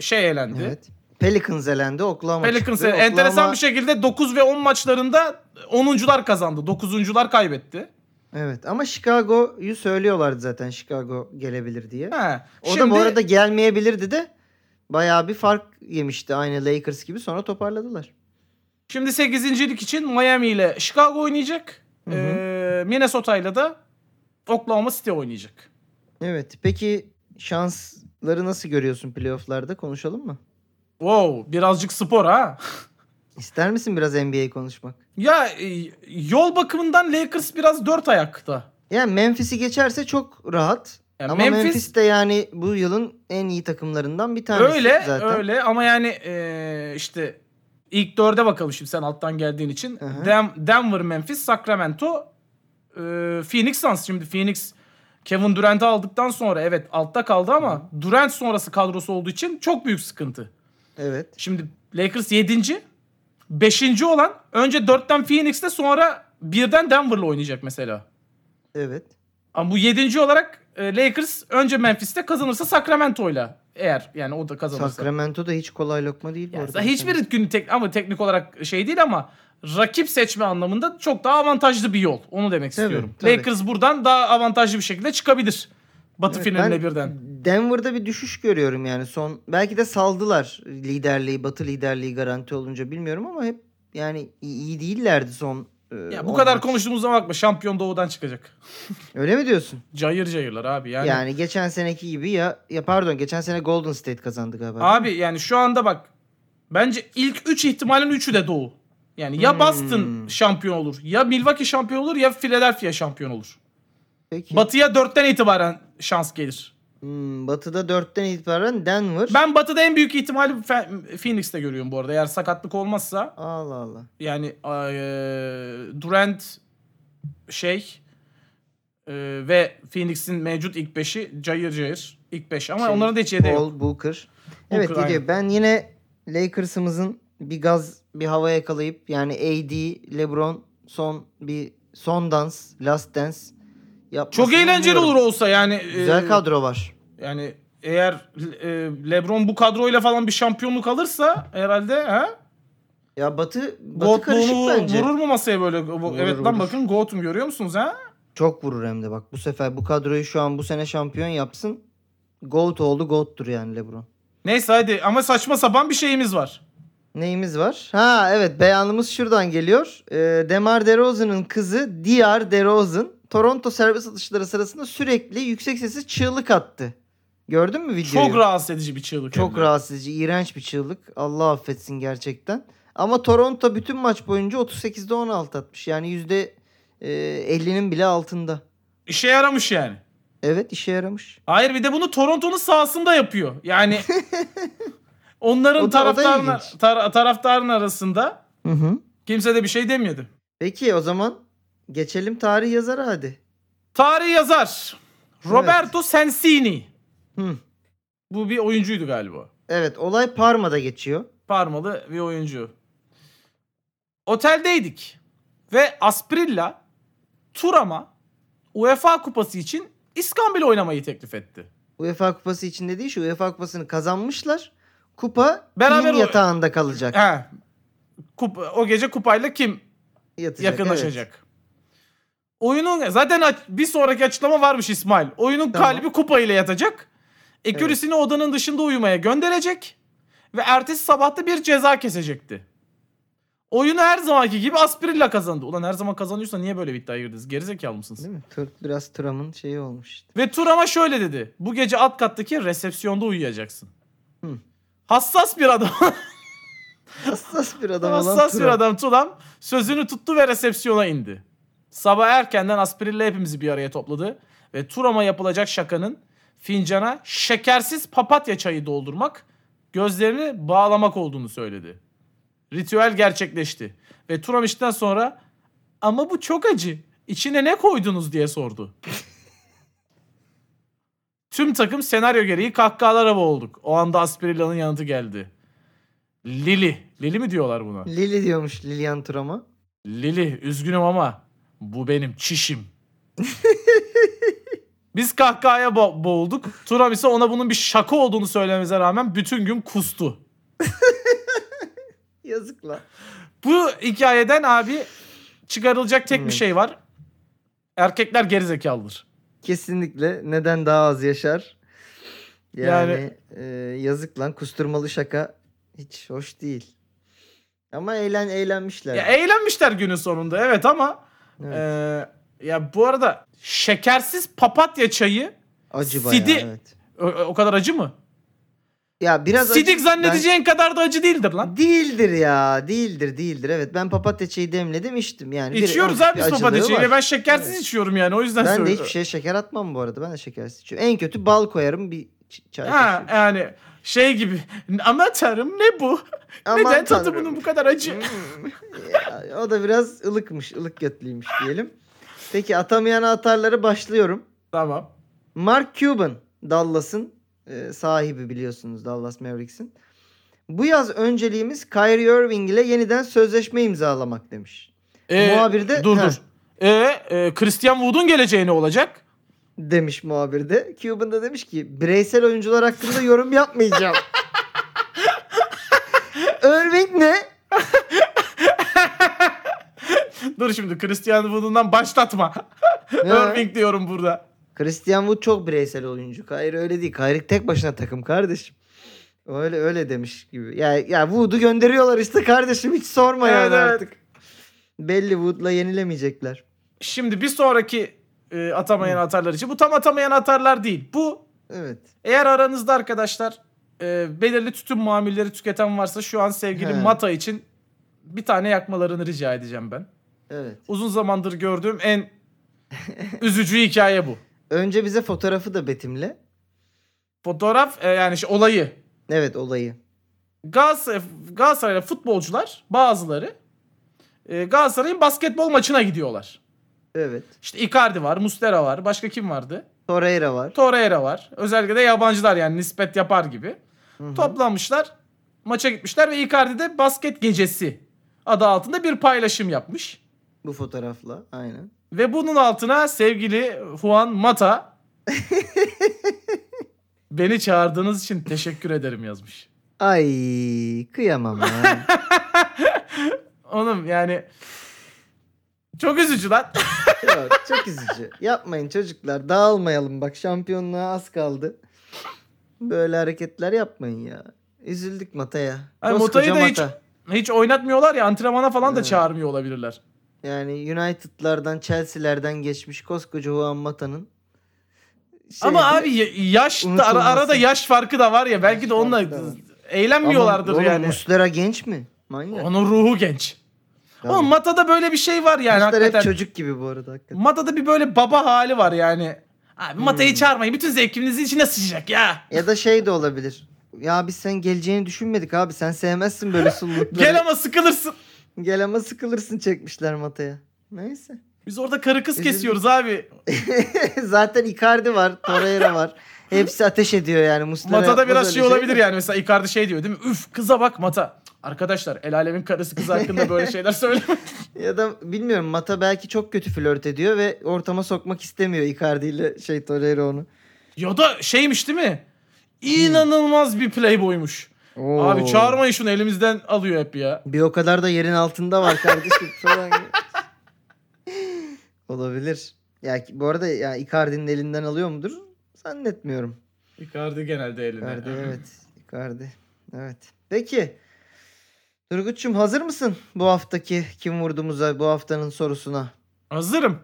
C: şey elendi.
B: Evet. Pelicans elendi. Oklahoma
C: Pelicans
B: çıktı.
C: elendi. enteresan
B: Oklahoma-
C: bir şekilde 9 ve 10 maçlarında 10'uncular kazandı. 9'uncular kaybetti. şey-
B: Evet ama Chicago'yu söylüyorlardı zaten Chicago gelebilir diye.
C: He.
B: O da bu arada gelmeyebilirdi de bayağı bir fark yemişti aynı Lakers gibi sonra toparladılar.
C: Şimdi 8.lik için Miami ile Chicago oynayacak.
B: Hı hı.
C: Ee, Minnesota ile de Oklahoma City oynayacak.
B: Evet peki şansları nasıl görüyorsun playofflarda konuşalım mı?
C: Wow birazcık spor ha.
B: İster misin biraz NBA konuşmak?
C: Ya e, yol bakımından Lakers biraz dört ayakta.
B: Yani Memphis'i geçerse çok rahat.
C: Yani
B: ama
C: Memphis,
B: Memphis, de yani bu yılın en iyi takımlarından bir tanesi
C: öyle
B: zaten.
C: öyle ama yani e, işte ilk dörde bakalım şimdi sen alttan geldiğin için.
B: Hı hı.
C: Dem- Denver, Memphis, Sacramento, e, Phoenix Suns. Şimdi Phoenix Kevin Durant'ı aldıktan sonra evet altta kaldı ama Durant sonrası kadrosu olduğu için çok büyük sıkıntı.
B: Evet.
C: Şimdi Lakers 7. Beşinci olan önce dörtten Phoenix'te sonra birden Denver'la oynayacak mesela.
B: Evet.
C: Ama bu yedinci olarak e, Lakers önce Memphis'te kazanırsa Sacramento'yla. Eğer yani o da kazanırsa.
B: Sacramento da hiç kolay lokma değil bu
C: Ya
B: arada.
C: hiçbir gün tek, ama teknik olarak şey değil ama rakip seçme anlamında çok daha avantajlı bir yol. Onu demek
B: Tabii,
C: istiyorum.
B: tabii.
C: Lakers buradan daha avantajlı bir şekilde çıkabilir. Batı
B: Evet,
C: finaline
B: ben
C: birden.
B: Denver'da bir düşüş görüyorum yani son. Belki de saldılar liderliği, Batı liderliği garanti olunca bilmiyorum ama hep yani iyi iyi değillerdi son. e,
C: Ya bu
B: on
C: kadar
B: maç.
C: konuştuğumuzda bakma. Şampiyon doğudan çıkacak.
B: Öyle mi diyorsun?
C: Cayır cayırlar abi yani.
B: Yani, geçen seneki gibi ya, ya pardon geçen sene Golden State kazandı galiba.
C: Abi yani şu anda bak. Bence ilk 3 ihtimalin 3'ü de doğu. Yani ya Boston
B: Hmm.
C: şampiyon olur, ya Milwaukee şampiyon olur, ya Philadelphia şampiyon olur.
B: Peki.
C: Batı'ya 4'ten itibaren şans gelir.
B: Hmm, batı'da 4'ten itibaren Denver.
C: Ben Batı'da en büyük ihtimali Fe- Phoenix'te görüyorum bu arada. Eğer sakatlık olmazsa
B: Allah Allah.
C: yani eee, Durant şey eee, ve Phoenix'in mevcut ilk 5'i cayır cayır ilk 5 ama
B: Şey,
C: onların da hiç yedeği yok.
B: Paul Booker. Evet
C: Booker,
B: Didi, ben yine Lakers'ımızın bir gaz bir hava yakalayıp yani AD, LeBron son bir son dans, last dance yapmasını
C: Çok eğlenceli
B: umuyorum.
C: olur Ee, olsa yani. eee,
B: Güzel kadro var.
C: Yani eğer e, LeBron bu kadroyla falan bir şampiyonluk alırsa herhalde ha?
B: Ya Batı Batı
C: Goat
B: karışık
C: Bowl'u
B: bence.
C: vurur mu masaya böyle? Bu-
B: Vurur,
C: evet lan
B: vurur.
C: bakın Goat'um görüyor musunuz ha?
B: Çok vurur hem de bak. Bu sefer bu kadroyu şu an bu sene şampiyon yapsın. Goat oldu, goat'tur yani LeBron.
C: Neyse hadi ama saçma sapan bir şeyimiz var.
B: Neyimiz var? Ha evet beyanımız şuradan geliyor. Ee, Demar DeRozan'ın kızı Diar DeRozan Toronto servis atışları sırasında sürekli yüksek sesli çığlık attı. Gördün mü videoyu?
C: Çok rahatsız edici bir çığlık.
B: Çok
C: hem de.
B: rahatsız edici, iğrenç bir çığlık. Allah affetsin gerçekten. Ama Toronto bütün maç boyunca 38'de 16 atmış. Yani yüzde e, %50'nin bile altında.
C: İşe yaramış yani.
B: Evet işe yaramış.
C: Hayır bir de bunu Toronto'nun sahasında yapıyor. Yani
B: O da-
C: onların
B: o da
C: taraftarın,
B: ilginç.
C: tar- taraftarın arasında
B: Hı hı.
C: kimse de bir şey demedi.
B: Peki o zaman geçelim tarih yazarı hadi.
C: Tarih yazar Roberto Sensini.
B: Hı.
C: Bu bir oyuncuydu galiba.
B: Evet olay Parma'da geçiyor.
C: parmalı bir oyuncu. Oteldeydik ve Asprilla Turam'a UEFA kupası için İskambil oynamayı teklif etti.
B: UEFA kupası içinde değil şu UEFA kupasını kazanmışlar. Kupa
C: Beraber
B: kimin
C: o-
B: yatağında kalacak.
C: He. Kup- o gece kupayla kim
B: Yatacak,
C: yakınlaşacak? Oyunun zaten aç- bir sonraki açıklama varmış İsmail. Oyunun
B: Tamam.
C: kalbi kupa ile yatacak.
B: Evet.
C: Ekürisini odanın dışında uyumaya gönderecek ve ertesi sabahta bir ceza kesecekti. Oyunu her zamanki gibi Aspirilla kazandı. Ulan her zaman kazanıyorsa niye böyle bir iddiaya girdiniz? Gerizekalı
B: Evet.
C: mısınız?
B: Değil mi? Türk biraz Tram'ın şeyi olmuş işte.
C: Ve Turam'a şöyle dedi. Bu gece alt kattaki resepsiyonda uyuyacaksın.
B: Hı.
C: Hassas bir adam.
B: Hassas bir adam olan
C: Hassas bir
B: Thuram.
C: adam Turam sözünü tuttu ve resepsiyona indi. Sabah erkenden Aspirin'le hepimizi bir araya topladı ve Turam'a yapılacak şakanın fincana şekersiz papatya çayı doldurmak, gözlerini bağlamak olduğunu söyledi. Ritüel gerçekleşti ve Turam işten sonra ama bu çok acı. İçine ne koydunuz diye sordu. Tüm takım senaryo gereği kahkahalara boğulduk. O anda Aspirilla'nın yanıtı geldi. Lili. Lili mi diyorlar buna?
B: Lili diyormuş Lilian Tram'a.
C: Lili üzgünüm ama bu benim çişim. Biz kahkahaya bo- boğulduk. Turam ise ona bunun bir şaka olduğunu söylememize rağmen bütün gün kustu.
B: Yazık lan.
C: Bu hikayeden abi çıkarılacak tek bir
B: Evet.
C: şey var. Erkekler gerizekalıdır.
B: Kesinlikle neden daha az yaşar? Yani,
C: Yani-
B: e, yazık lan kusturmalı şaka hiç hoş değil. Ama eğlen eğlenmişler.
C: Ya e, eğlenmişler günün sonunda evet ama
B: Evet.
C: eee, ya bu arada şekersiz papatya çayı
B: acı bayağı
C: Sidi-
B: evet.
C: o, o kadar acı mı?
B: Ya biraz acı-
C: Sidik
B: ben-
C: zannedeceğin kadar da acı değildir lan.
B: Değildir ya. Değildir değildir. Evet ben papatya çayı demledim içtim yani. Bir-
C: İçiyoruz
B: hafif
C: abi
B: Hani bir
C: biz
B: acılığı
C: papatya çayı.
B: var.
C: Ben şekersiz
B: Evet.
C: içiyorum yani o yüzden
B: Ben de
C: söylüyorum.
B: hiçbir şey şeye şeker atmam bu arada. Ben de şekersiz içiyorum. En kötü bal koyarım bir ç- çay
C: Ha
B: kaşığı.
C: yani şey gibi. Ama tanrım ne bu?
B: Aman
C: Neden tadı
B: tanrım.
C: bunun bu kadar acı?
B: Hmm. Ya, o da biraz ılıkmış. ılık götlüymüş diyelim. Peki atamayan atarları başlıyorum.
C: tamam.
B: Mark Cuban Dallas'ın e, sahibi biliyorsunuz Dallas Mavericks'in. Bu yaz önceliğimiz Kyrie Irving ile yeniden sözleşme imzalamak demiş.
C: Ee,
B: Muhabirde-
C: dur
B: Ha.
C: dur. Ee, e, Christian Wood'un geleceği ne olacak?
B: Demiş muhabirde. Cuban da demiş ki bireysel oyuncular hakkında yorum yapmayacağım. Irving ne?
C: dur şimdi Christian Wood'undan başlatma. Irving diyorum burada.
B: Christian Wood çok bireysel oyuncu. Hayır öyle değil. Kyrie tek başına takım kardeşim. Öyle öyle demiş gibi. Ya ya Wood'u gönderiyorlar işte kardeşim hiç sorma
C: Evet,
B: yani
C: evet.
B: artık. Belli Wood'la yenilemeyecekler.
C: Şimdi bir sonraki e, atamayan atarlar için. Bu tam atamayan atarlar değil. Bu
B: Evet.
C: eğer aranızda arkadaşlar e, belirli tütün mamulleri tüketen varsa şu an sevgili
B: He.
C: Mata için bir tane yakmalarını rica edeceğim ben.
B: Evet.
C: Uzun zamandır gördüğüm en üzücü hikaye bu.
B: Önce bize fotoğrafı da betimle.
C: Fotoğraf e, yani şu olayı.
B: Evet olayı.
C: Galatasaray, Galatasaraylı futbolcular bazıları e, Galatasaray'ın basketbol maçına gidiyorlar.
B: Evet.
C: İşte Icardi var, Muslera var, başka kim vardı?
B: Torreira var.
C: Torreira var. Özellikle de yabancılar yani nispet yapar gibi.
B: Hı hı.
C: Toplanmışlar. Maça gitmişler ve Icardi de basket gecesi adı altında bir paylaşım yapmış.
B: Bu fotoğrafla. Aynen.
C: Ve bunun altına sevgili Juan Mata beni çağırdığınız için teşekkür ederim yazmış.
B: Ay kıyamam ya.
C: Oğlum yani çok üzücü lan.
B: Yok, çok üzücü. Yapmayın çocuklar. Dağılmayalım bak şampiyonluğa az kaldı. Böyle hareketler yapmayın ya. Üzüldük Mata'ya.
C: Ay,
B: Koskoca
C: Mata'yı da hiç,
B: Mata.
C: hiç oynatmıyorlar ya antrenmana falan da
B: Evet.
C: çağırmıyor olabilirler.
B: Yani United'lardan, Chelsea'lerden geçmiş koskoca Juan Mata'nın. şey-
C: Ama abi ya- yaş da ara,
B: unutulması.
C: arada yaş farkı da var ya belki de
B: Yaş
C: onunla
B: farkı da var. Ama
C: eğlenmiyorlardır
B: oğlum
C: yani.
B: Muslera genç mi? Manyak.
C: Onun ruhu genç.
B: Tabii.
C: Oğlum Mata'da böyle bir şey var yani
B: Muslera hep
C: hakikaten.
B: çocuk gibi bu arada hakikaten.
C: Mata'da bir böyle baba hali var yani. Abi
B: Hmm.
C: Mata'yı çağırmayın. Bütün zevkimizin içine sıçacak ya.
B: Ya da şey de olabilir. Ya biz sen geleceğini düşünmedik abi. Sen sevmezsin böyle sullukları.
C: Gel ama sıkılırsın.
B: Gel ama sıkılırsın çekmişler Mata'ya. Neyse.
C: Biz orada karı kız
B: Üzüldüm.
C: kesiyoruz abi.
B: Zaten Icardi var, Torreira var. Hepsi ateş ediyor yani. Muslera
C: Mata'da
B: yapmaz
C: biraz
B: öyle
C: şey
B: şey.
C: olabilir yani. Mesela Icardi şey diyor değil mi? Üf kıza bak Mata. Arkadaşlar el alemin karısı kız hakkında böyle şeyler söyle.
B: Ya da bilmiyorum Mata belki çok kötü flört ediyor ve ortama sokmak istemiyor Icardi ile şey Torreira onu.
C: ya da şeymiş değil mi?
B: Hmm.
C: İnanılmaz bir playboymuş. Abi çağırmayın şunu elimizden alıyor hep ya.
B: Bir o kadar da yerin altında var kardeşim falan. olabilir. Ya ki- bu arada ya Icardi'nin elinden alıyor mudur? Zannetmiyorum.
C: Icardi genelde eline.
B: Icardi evet. Icardi. Evet. Peki. Turgut'cum hazır mısın bu haftaki kim vurdumuza bu haftanın sorusuna?
C: Hazırım.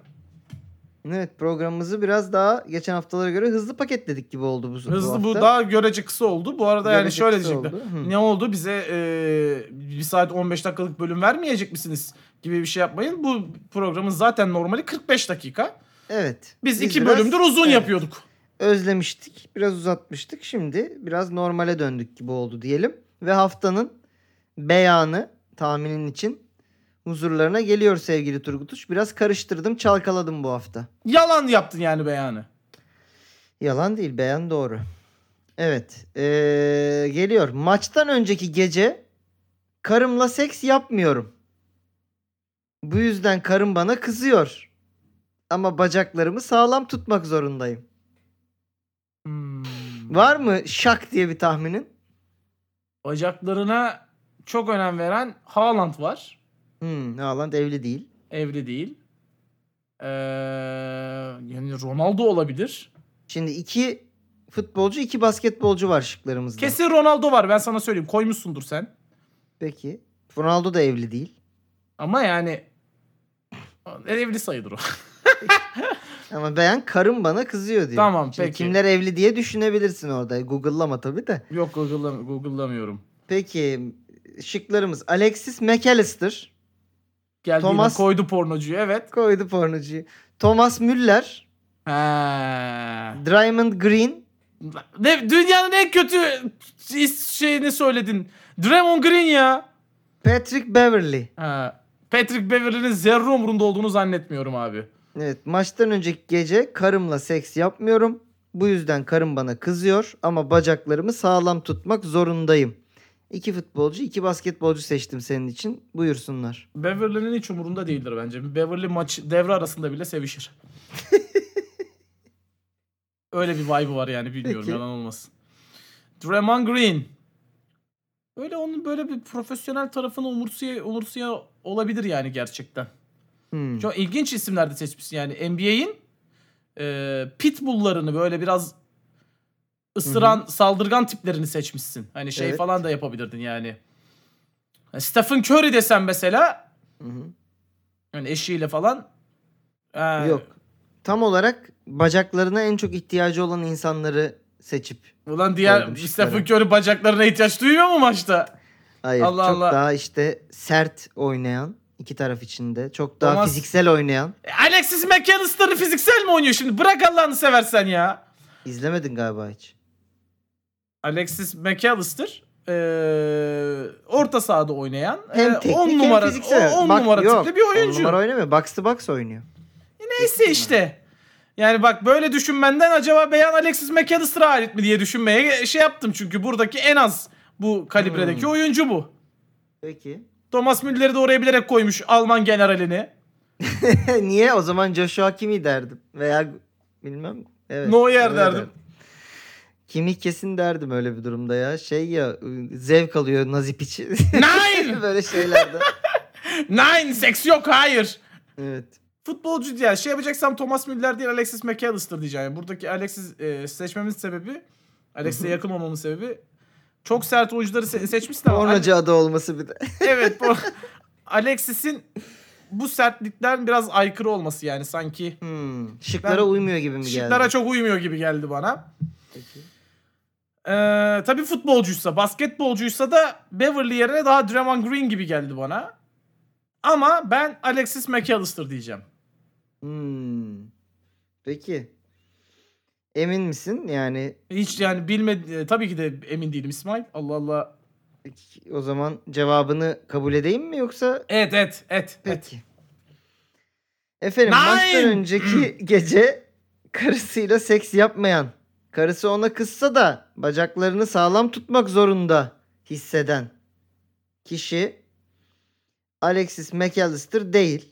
B: Evet programımızı biraz daha geçen haftalara göre hızlı paketledik gibi oldu bu,
C: Hızlı bu
B: hafta.
C: daha görece kısa oldu. Bu arada yani
B: Görece
C: şöyle
B: kısa
C: diyecekler.
B: oldu. Hı.
C: Ne oldu bize e, 1 saat 15 dakikalık bölüm vermeyecek misiniz gibi bir şey yapmayın. Bu programın zaten normali 45 dakika.
B: Evet.
C: Biz, iki
B: biraz
C: bölümdür uzun
B: evet.
C: yapıyorduk.
B: Özlemiştik. Biraz uzatmıştık. Şimdi biraz normale döndük gibi oldu diyelim. Ve haftanın beyanı tahminin için huzurlarına geliyor sevgili Turgutuş. Biraz karıştırdım çalkaladım bu hafta.
C: Yalan yaptın yani beyanı.
B: Yalan değil beyan doğru. Evet ee, geliyor. Maçtan önceki gece karımla seks yapmıyorum. Bu yüzden karım bana kızıyor. Ama bacaklarımı sağlam tutmak zorundayım.
C: Hmm.
B: Var mı şak diye bir tahminin?
C: Bacaklarına çok önem veren Haaland var.
B: Hmm, Haaland evli değil.
C: Evli değil. Ee, yani Ronaldo olabilir.
B: Şimdi iki futbolcu iki basketbolcu var şıklarımızda.
C: Kesin Ronaldo var ben sana söyleyeyim. Koymuşsundur sen.
B: Peki. Ronaldo da evli değil.
C: Ama yani evli sayılır o.
B: Ama beyan karım bana kızıyor diyor.
C: Tamam,
B: Şimdi
C: peki.
B: Kimler evli diye düşünebilirsin orada. Google'lama tabii de.
C: Yok Google'lam- Google'lamıyorum.
B: Peki şıklarımız Alexis McAllister
C: Geldiğinde
B: Thomas-
C: koydu pornocuyu evet.
B: koydu pornocuyu. Thomas Müller,
C: Ha.
B: Draymond Green,
C: Ne, dünyanın en kötü is- şeyini söyledin. Draymond Green ya.
B: Patrick Beverly.
C: Ha. Patrick Beverly'nin zerre umurunda olduğunu zannetmiyorum abi.
B: Evet maçtan önceki gece karımla seks yapmıyorum. Bu yüzden karım bana kızıyor ama bacaklarımı sağlam tutmak zorundayım. İki futbolcu, iki basketbolcu seçtim senin için. Buyursunlar.
C: Beverly'nin hiç umurunda değildir bence. Beverly maç devre arasında bile sevişir. Öyle bir vibe'ı var yani bilmiyorum
B: Peki.
C: yalan olmasın. Draymond Green. Öyle onun böyle bir profesyonel tarafını umursuya, umursuya olabilir yani gerçekten.
B: Hmm.
C: Çok ilginç isimler de seçmişsin yani. NBA'in e, pitbulllarını böyle biraz ısıran, saldırgan tiplerini seçmişsin. Hani şey
B: Evet.
C: falan da yapabilirdin yani. Yani Stephen Curry desen mesela
B: Hı hı.
C: yani eşiyle falan. e,
B: Yok. Tam olarak bacaklarına en çok ihtiyacı olan insanları seçip
C: Ulan diğer
B: Koydum şıkları.
C: Stephen Curry bacaklarına ihtiyaç duyuyor mu maçta?
B: hayır
C: Allah
B: çok
C: Allah.
B: daha işte sert oynayan iki taraf içinde çok daha
C: Thomas-
B: fiziksel oynayan
C: E, Alexis McAllister'ı fiziksel mi oynuyor şimdi? Bırak Allah'ını seversen ya.
B: izlemedin galiba hiç.
C: Alexis McAllister eee, orta sahada oynayan
B: Hem
C: eee,
B: teknik
C: 10
B: hem
C: Ee, numara
B: fiziksel.
C: o- 10
B: Bak-
C: numara
B: yok,
C: tipli bir oyuncu. E,
B: On numara oynamıyor. Box to box oynuyor.
C: Neyse işte. Yani bak böyle düşünmenden acaba Beyan Alexis McAllister'a ait mi diye düşünmeye şey yaptım. Çünkü buradaki en az bu kalibredeki
B: Hmm.
C: oyuncu bu.
B: Peki.
C: Thomas Müller'i de oraya bilerek koymuş Alman generalini.
B: Niye? O zaman Joshua Kimi derdim. Veya bilmem. Evet.
C: Neuer
B: öyle
C: derdim.
B: Kimi kesin derdim öyle bir durumda ya. Şey ya zevk alıyor Nazip içi.
C: Nein!
B: Böyle şeylerde.
C: Nein seks yok hayır.
B: evet.
C: futbolcu diye şey yapacaksam Thomas Müller değil Alexis McAllister diyeceğim. Yani buradaki Alexis e, seçmemin sebebi Alexis'e yakın olmamın sebebi çok sert oyuncuları se- seçmişsin ama
B: Pornocu adı olması bir de.
C: evet bu Alexis'in bu sertlikten biraz aykırı olması yani sanki
B: Hmm. Şıklara
C: Ben-
B: uymuyor gibi mi geldi?
C: şıklara çok uymuyor gibi geldi bana.
B: Peki.
C: Ee, tabii futbolcuysa, basketbolcuysa da Beverly yerine daha Draymond Green gibi geldi bana. Ama ben Alexis McAllister diyeceğim.
B: Hmm. Peki. Emin misin? Yani
C: Hiç yani bilmedi e, tabii ki de emin değilim İsmail. Allah Allah
B: o zaman cevabını kabul edeyim mi yoksa
C: Evet evet evet. evet.
B: Peki. Efendim
C: Nine!
B: maçtan önceki gece karısıyla seks yapmayan, karısı ona kızsa da bacaklarını sağlam tutmak zorunda hisseden kişi Alexis McAllister değil.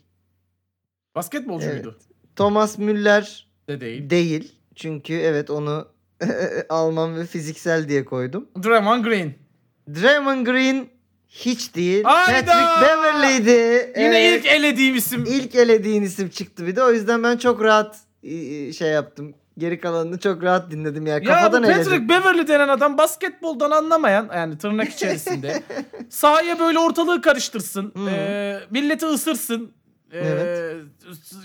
C: Basketbolcu
B: Evet.
C: muydu?
B: Thomas Müller
C: De değil.
B: değil. Çünkü evet onu Alman ve fiziksel diye koydum.
C: Draymond Green.
B: Draymond Green hiç değil.
C: Hayda!
B: Patrick Beverley'di.
C: Yine
B: Evet.
C: ilk elediğim isim.
B: İlk elediğin isim çıktı bir de. O yüzden ben çok rahat e, şey yaptım. Geri kalanını çok rahat dinledim yani.
C: Ya bu
B: Kafadan
C: Patrick
B: eledim.
C: Beverly denen adam basketboldan anlamayan yani tırnak içerisinde sahaya böyle ortalığı karıştırsın.
B: Hmm.
C: e, milleti ısırsın. e,
B: Evet.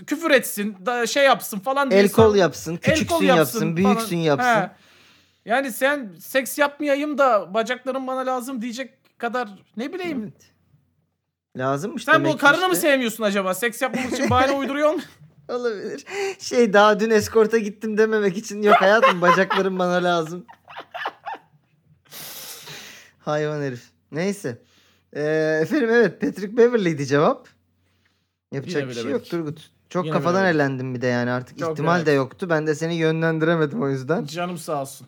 C: küfür etsin, da şey yapsın falan diye
B: El
C: sağ-
B: kol yapsın,
C: el
B: küçüksün
C: kol
B: yapsın,
C: falan.
B: büyüksün yapsın.
C: He. Yani sen seks yapmayayım da bacaklarım bana lazım diyecek kadar ne bileyim
B: Evet. Lazımmış
C: Sen
B: demek
C: bu
B: ki
C: karını mı
B: işte.
C: sevmiyorsun acaba? Seks yapmamak için bahane uyduruyor musun?
B: Olabilir. Şey daha dün eskorta gittim dememek için yok hayatım bacaklarım bana lazım. Hayvan herif. Neyse. Ee, efendim evet Patrick Beverley'di cevap. Yapacak
C: Yine
B: bir şey yok
C: bilemedik.
B: Turgut. Çok
C: Yine
B: kafadan
C: bilemedik.
B: elendim bir de yani artık
C: Çok
B: ihtimal de
C: bilemedik.
B: yoktu. Ben de seni yönlendiremedim o yüzden.
C: Canım sağ olsun.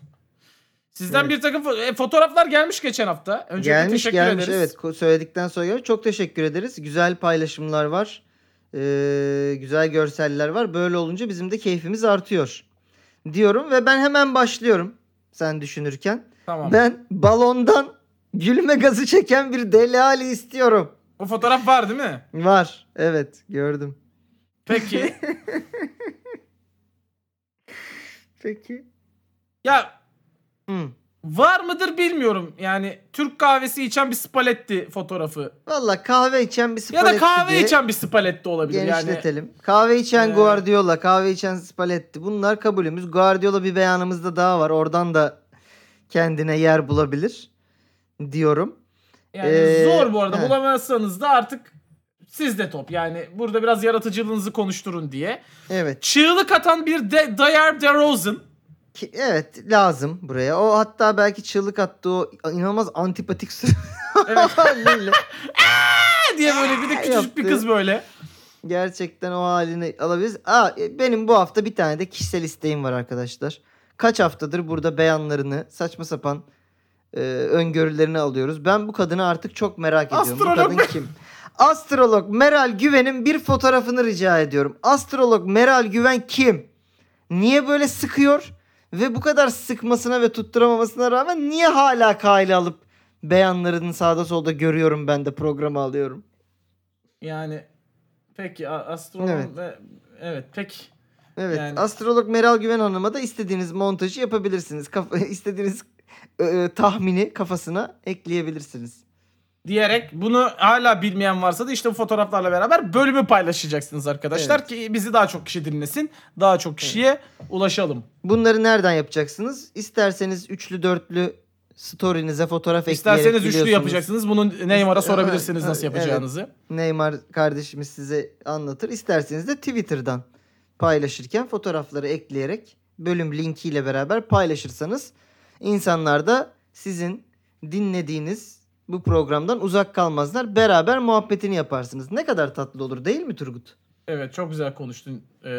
C: Sizden
B: Evet.
C: bir takım fo- e, fotoğraflar gelmiş geçen hafta. Önce
B: gelmiş
C: teşekkür
B: gelmiş
C: ederiz.
B: evet ko- söyledikten sonra gel- çok teşekkür ederiz. Güzel paylaşımlar var. Ee, güzel görseller var. Böyle olunca bizim de keyfimiz artıyor. Diyorum ve ben hemen başlıyorum sen düşünürken.
C: Tamam.
B: Ben balondan gülme gazı çeken bir deli hali istiyorum.
C: O fotoğraf var değil mi?
B: Var. Evet gördüm.
C: Peki.
B: Peki.
C: ya
B: Hı.
C: var mıdır bilmiyorum. Yani Türk kahvesi içen bir spaletti fotoğrafı.
B: Valla kahve içen bir
C: Ya
B: spaletti
C: da kahve
B: diye
C: içen bir spaletti olabilir yani.
B: genişletelim. Kahve içen
C: Ee,
B: Guardiola, kahve içen Spalletti. Bunlar kabulümüz. Guardiola bir beyanımızda daha var. Oradan da kendine yer bulabilir diyorum.
C: Yani
B: Ee,
C: zor bu arada.
B: he.
C: Bulamazsanız da artık siz de top. Yani burada biraz yaratıcılığınızı konuşturun diye.
B: Evet.
C: Çığlık atan bir de Dyer DeRozan.
B: Ki- Evet lazım buraya. O hatta belki çığlık attı o inanılmaz antipatik sür-
C: Evet.
B: haliyle.
C: diye böyle bir de küçücük bir
B: Yaptı.
C: kız böyle.
B: Gerçekten o halini alabiliriz. Aa, e, benim bu hafta bir tane de kişisel isteğim var arkadaşlar. Kaç haftadır burada beyanlarını saçma sapan e, öngörülerini alıyoruz. Ben bu kadını artık çok merak ediyorum.
C: Astrolog
B: bu kadın
C: Mer-
B: kim? Astrolog Meral Güven'in bir fotoğrafını rica ediyorum. Astrolog Meral Güven kim? Niye böyle sıkıyor? Ve bu kadar sıkmasına ve tutturamamasına rağmen niye hala kayla alıp beyanlarını sağda solda görüyorum ben de programa alıyorum.
C: Yani peki a- astronom
B: Evet.
C: ve evet peki.
B: Evet.
C: Yani-
B: Astrolog Meral Güven Hanım'a da istediğiniz montajı yapabilirsiniz. Kaf- istediğiniz e, e, tahmini kafasına ekleyebilirsiniz.
C: diyerek bunu hala bilmeyen varsa da işte bu fotoğraflarla beraber bölümü paylaşacaksınız arkadaşlar
B: Evet.
C: ki bizi daha çok kişi dinlesin, daha çok kişiye ulaşalım.
B: Bunları nereden yapacaksınız? İsterseniz üçlü dörtlü story'nize fotoğraf ekleyerek
C: İsterseniz üçlü
B: biliyorsunuz.
C: yapacaksınız. Bunu Neymar'a
B: İşte-
C: sorabilirsiniz
B: Evet,
C: nasıl
B: evet.
C: yapacağınızı.
B: Neymar kardeşimiz size anlatır. İsterseniz de Twitter'dan paylaşırken fotoğrafları ekleyerek bölüm linkiyle beraber paylaşırsanız insanlar da sizin dinlediğiniz bu programdan uzak kalmazlar. Beraber muhabbetini yaparsınız. Ne kadar tatlı olur değil mi Turgut?
C: Evet çok güzel konuştun ee,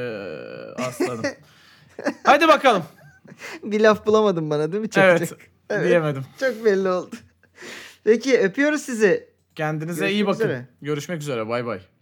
C: aslanım. Hadi bakalım.
B: Bir laf bulamadın bana değil mi? Çok
C: evet,
B: çok- Evet.
C: diyemedim.
B: Çok belli oldu. Peki öpüyoruz sizi.
C: Kendinize iyi
B: Görüşmek
C: bakın.
B: üzere.
C: Görüşmek üzere. Bay bay.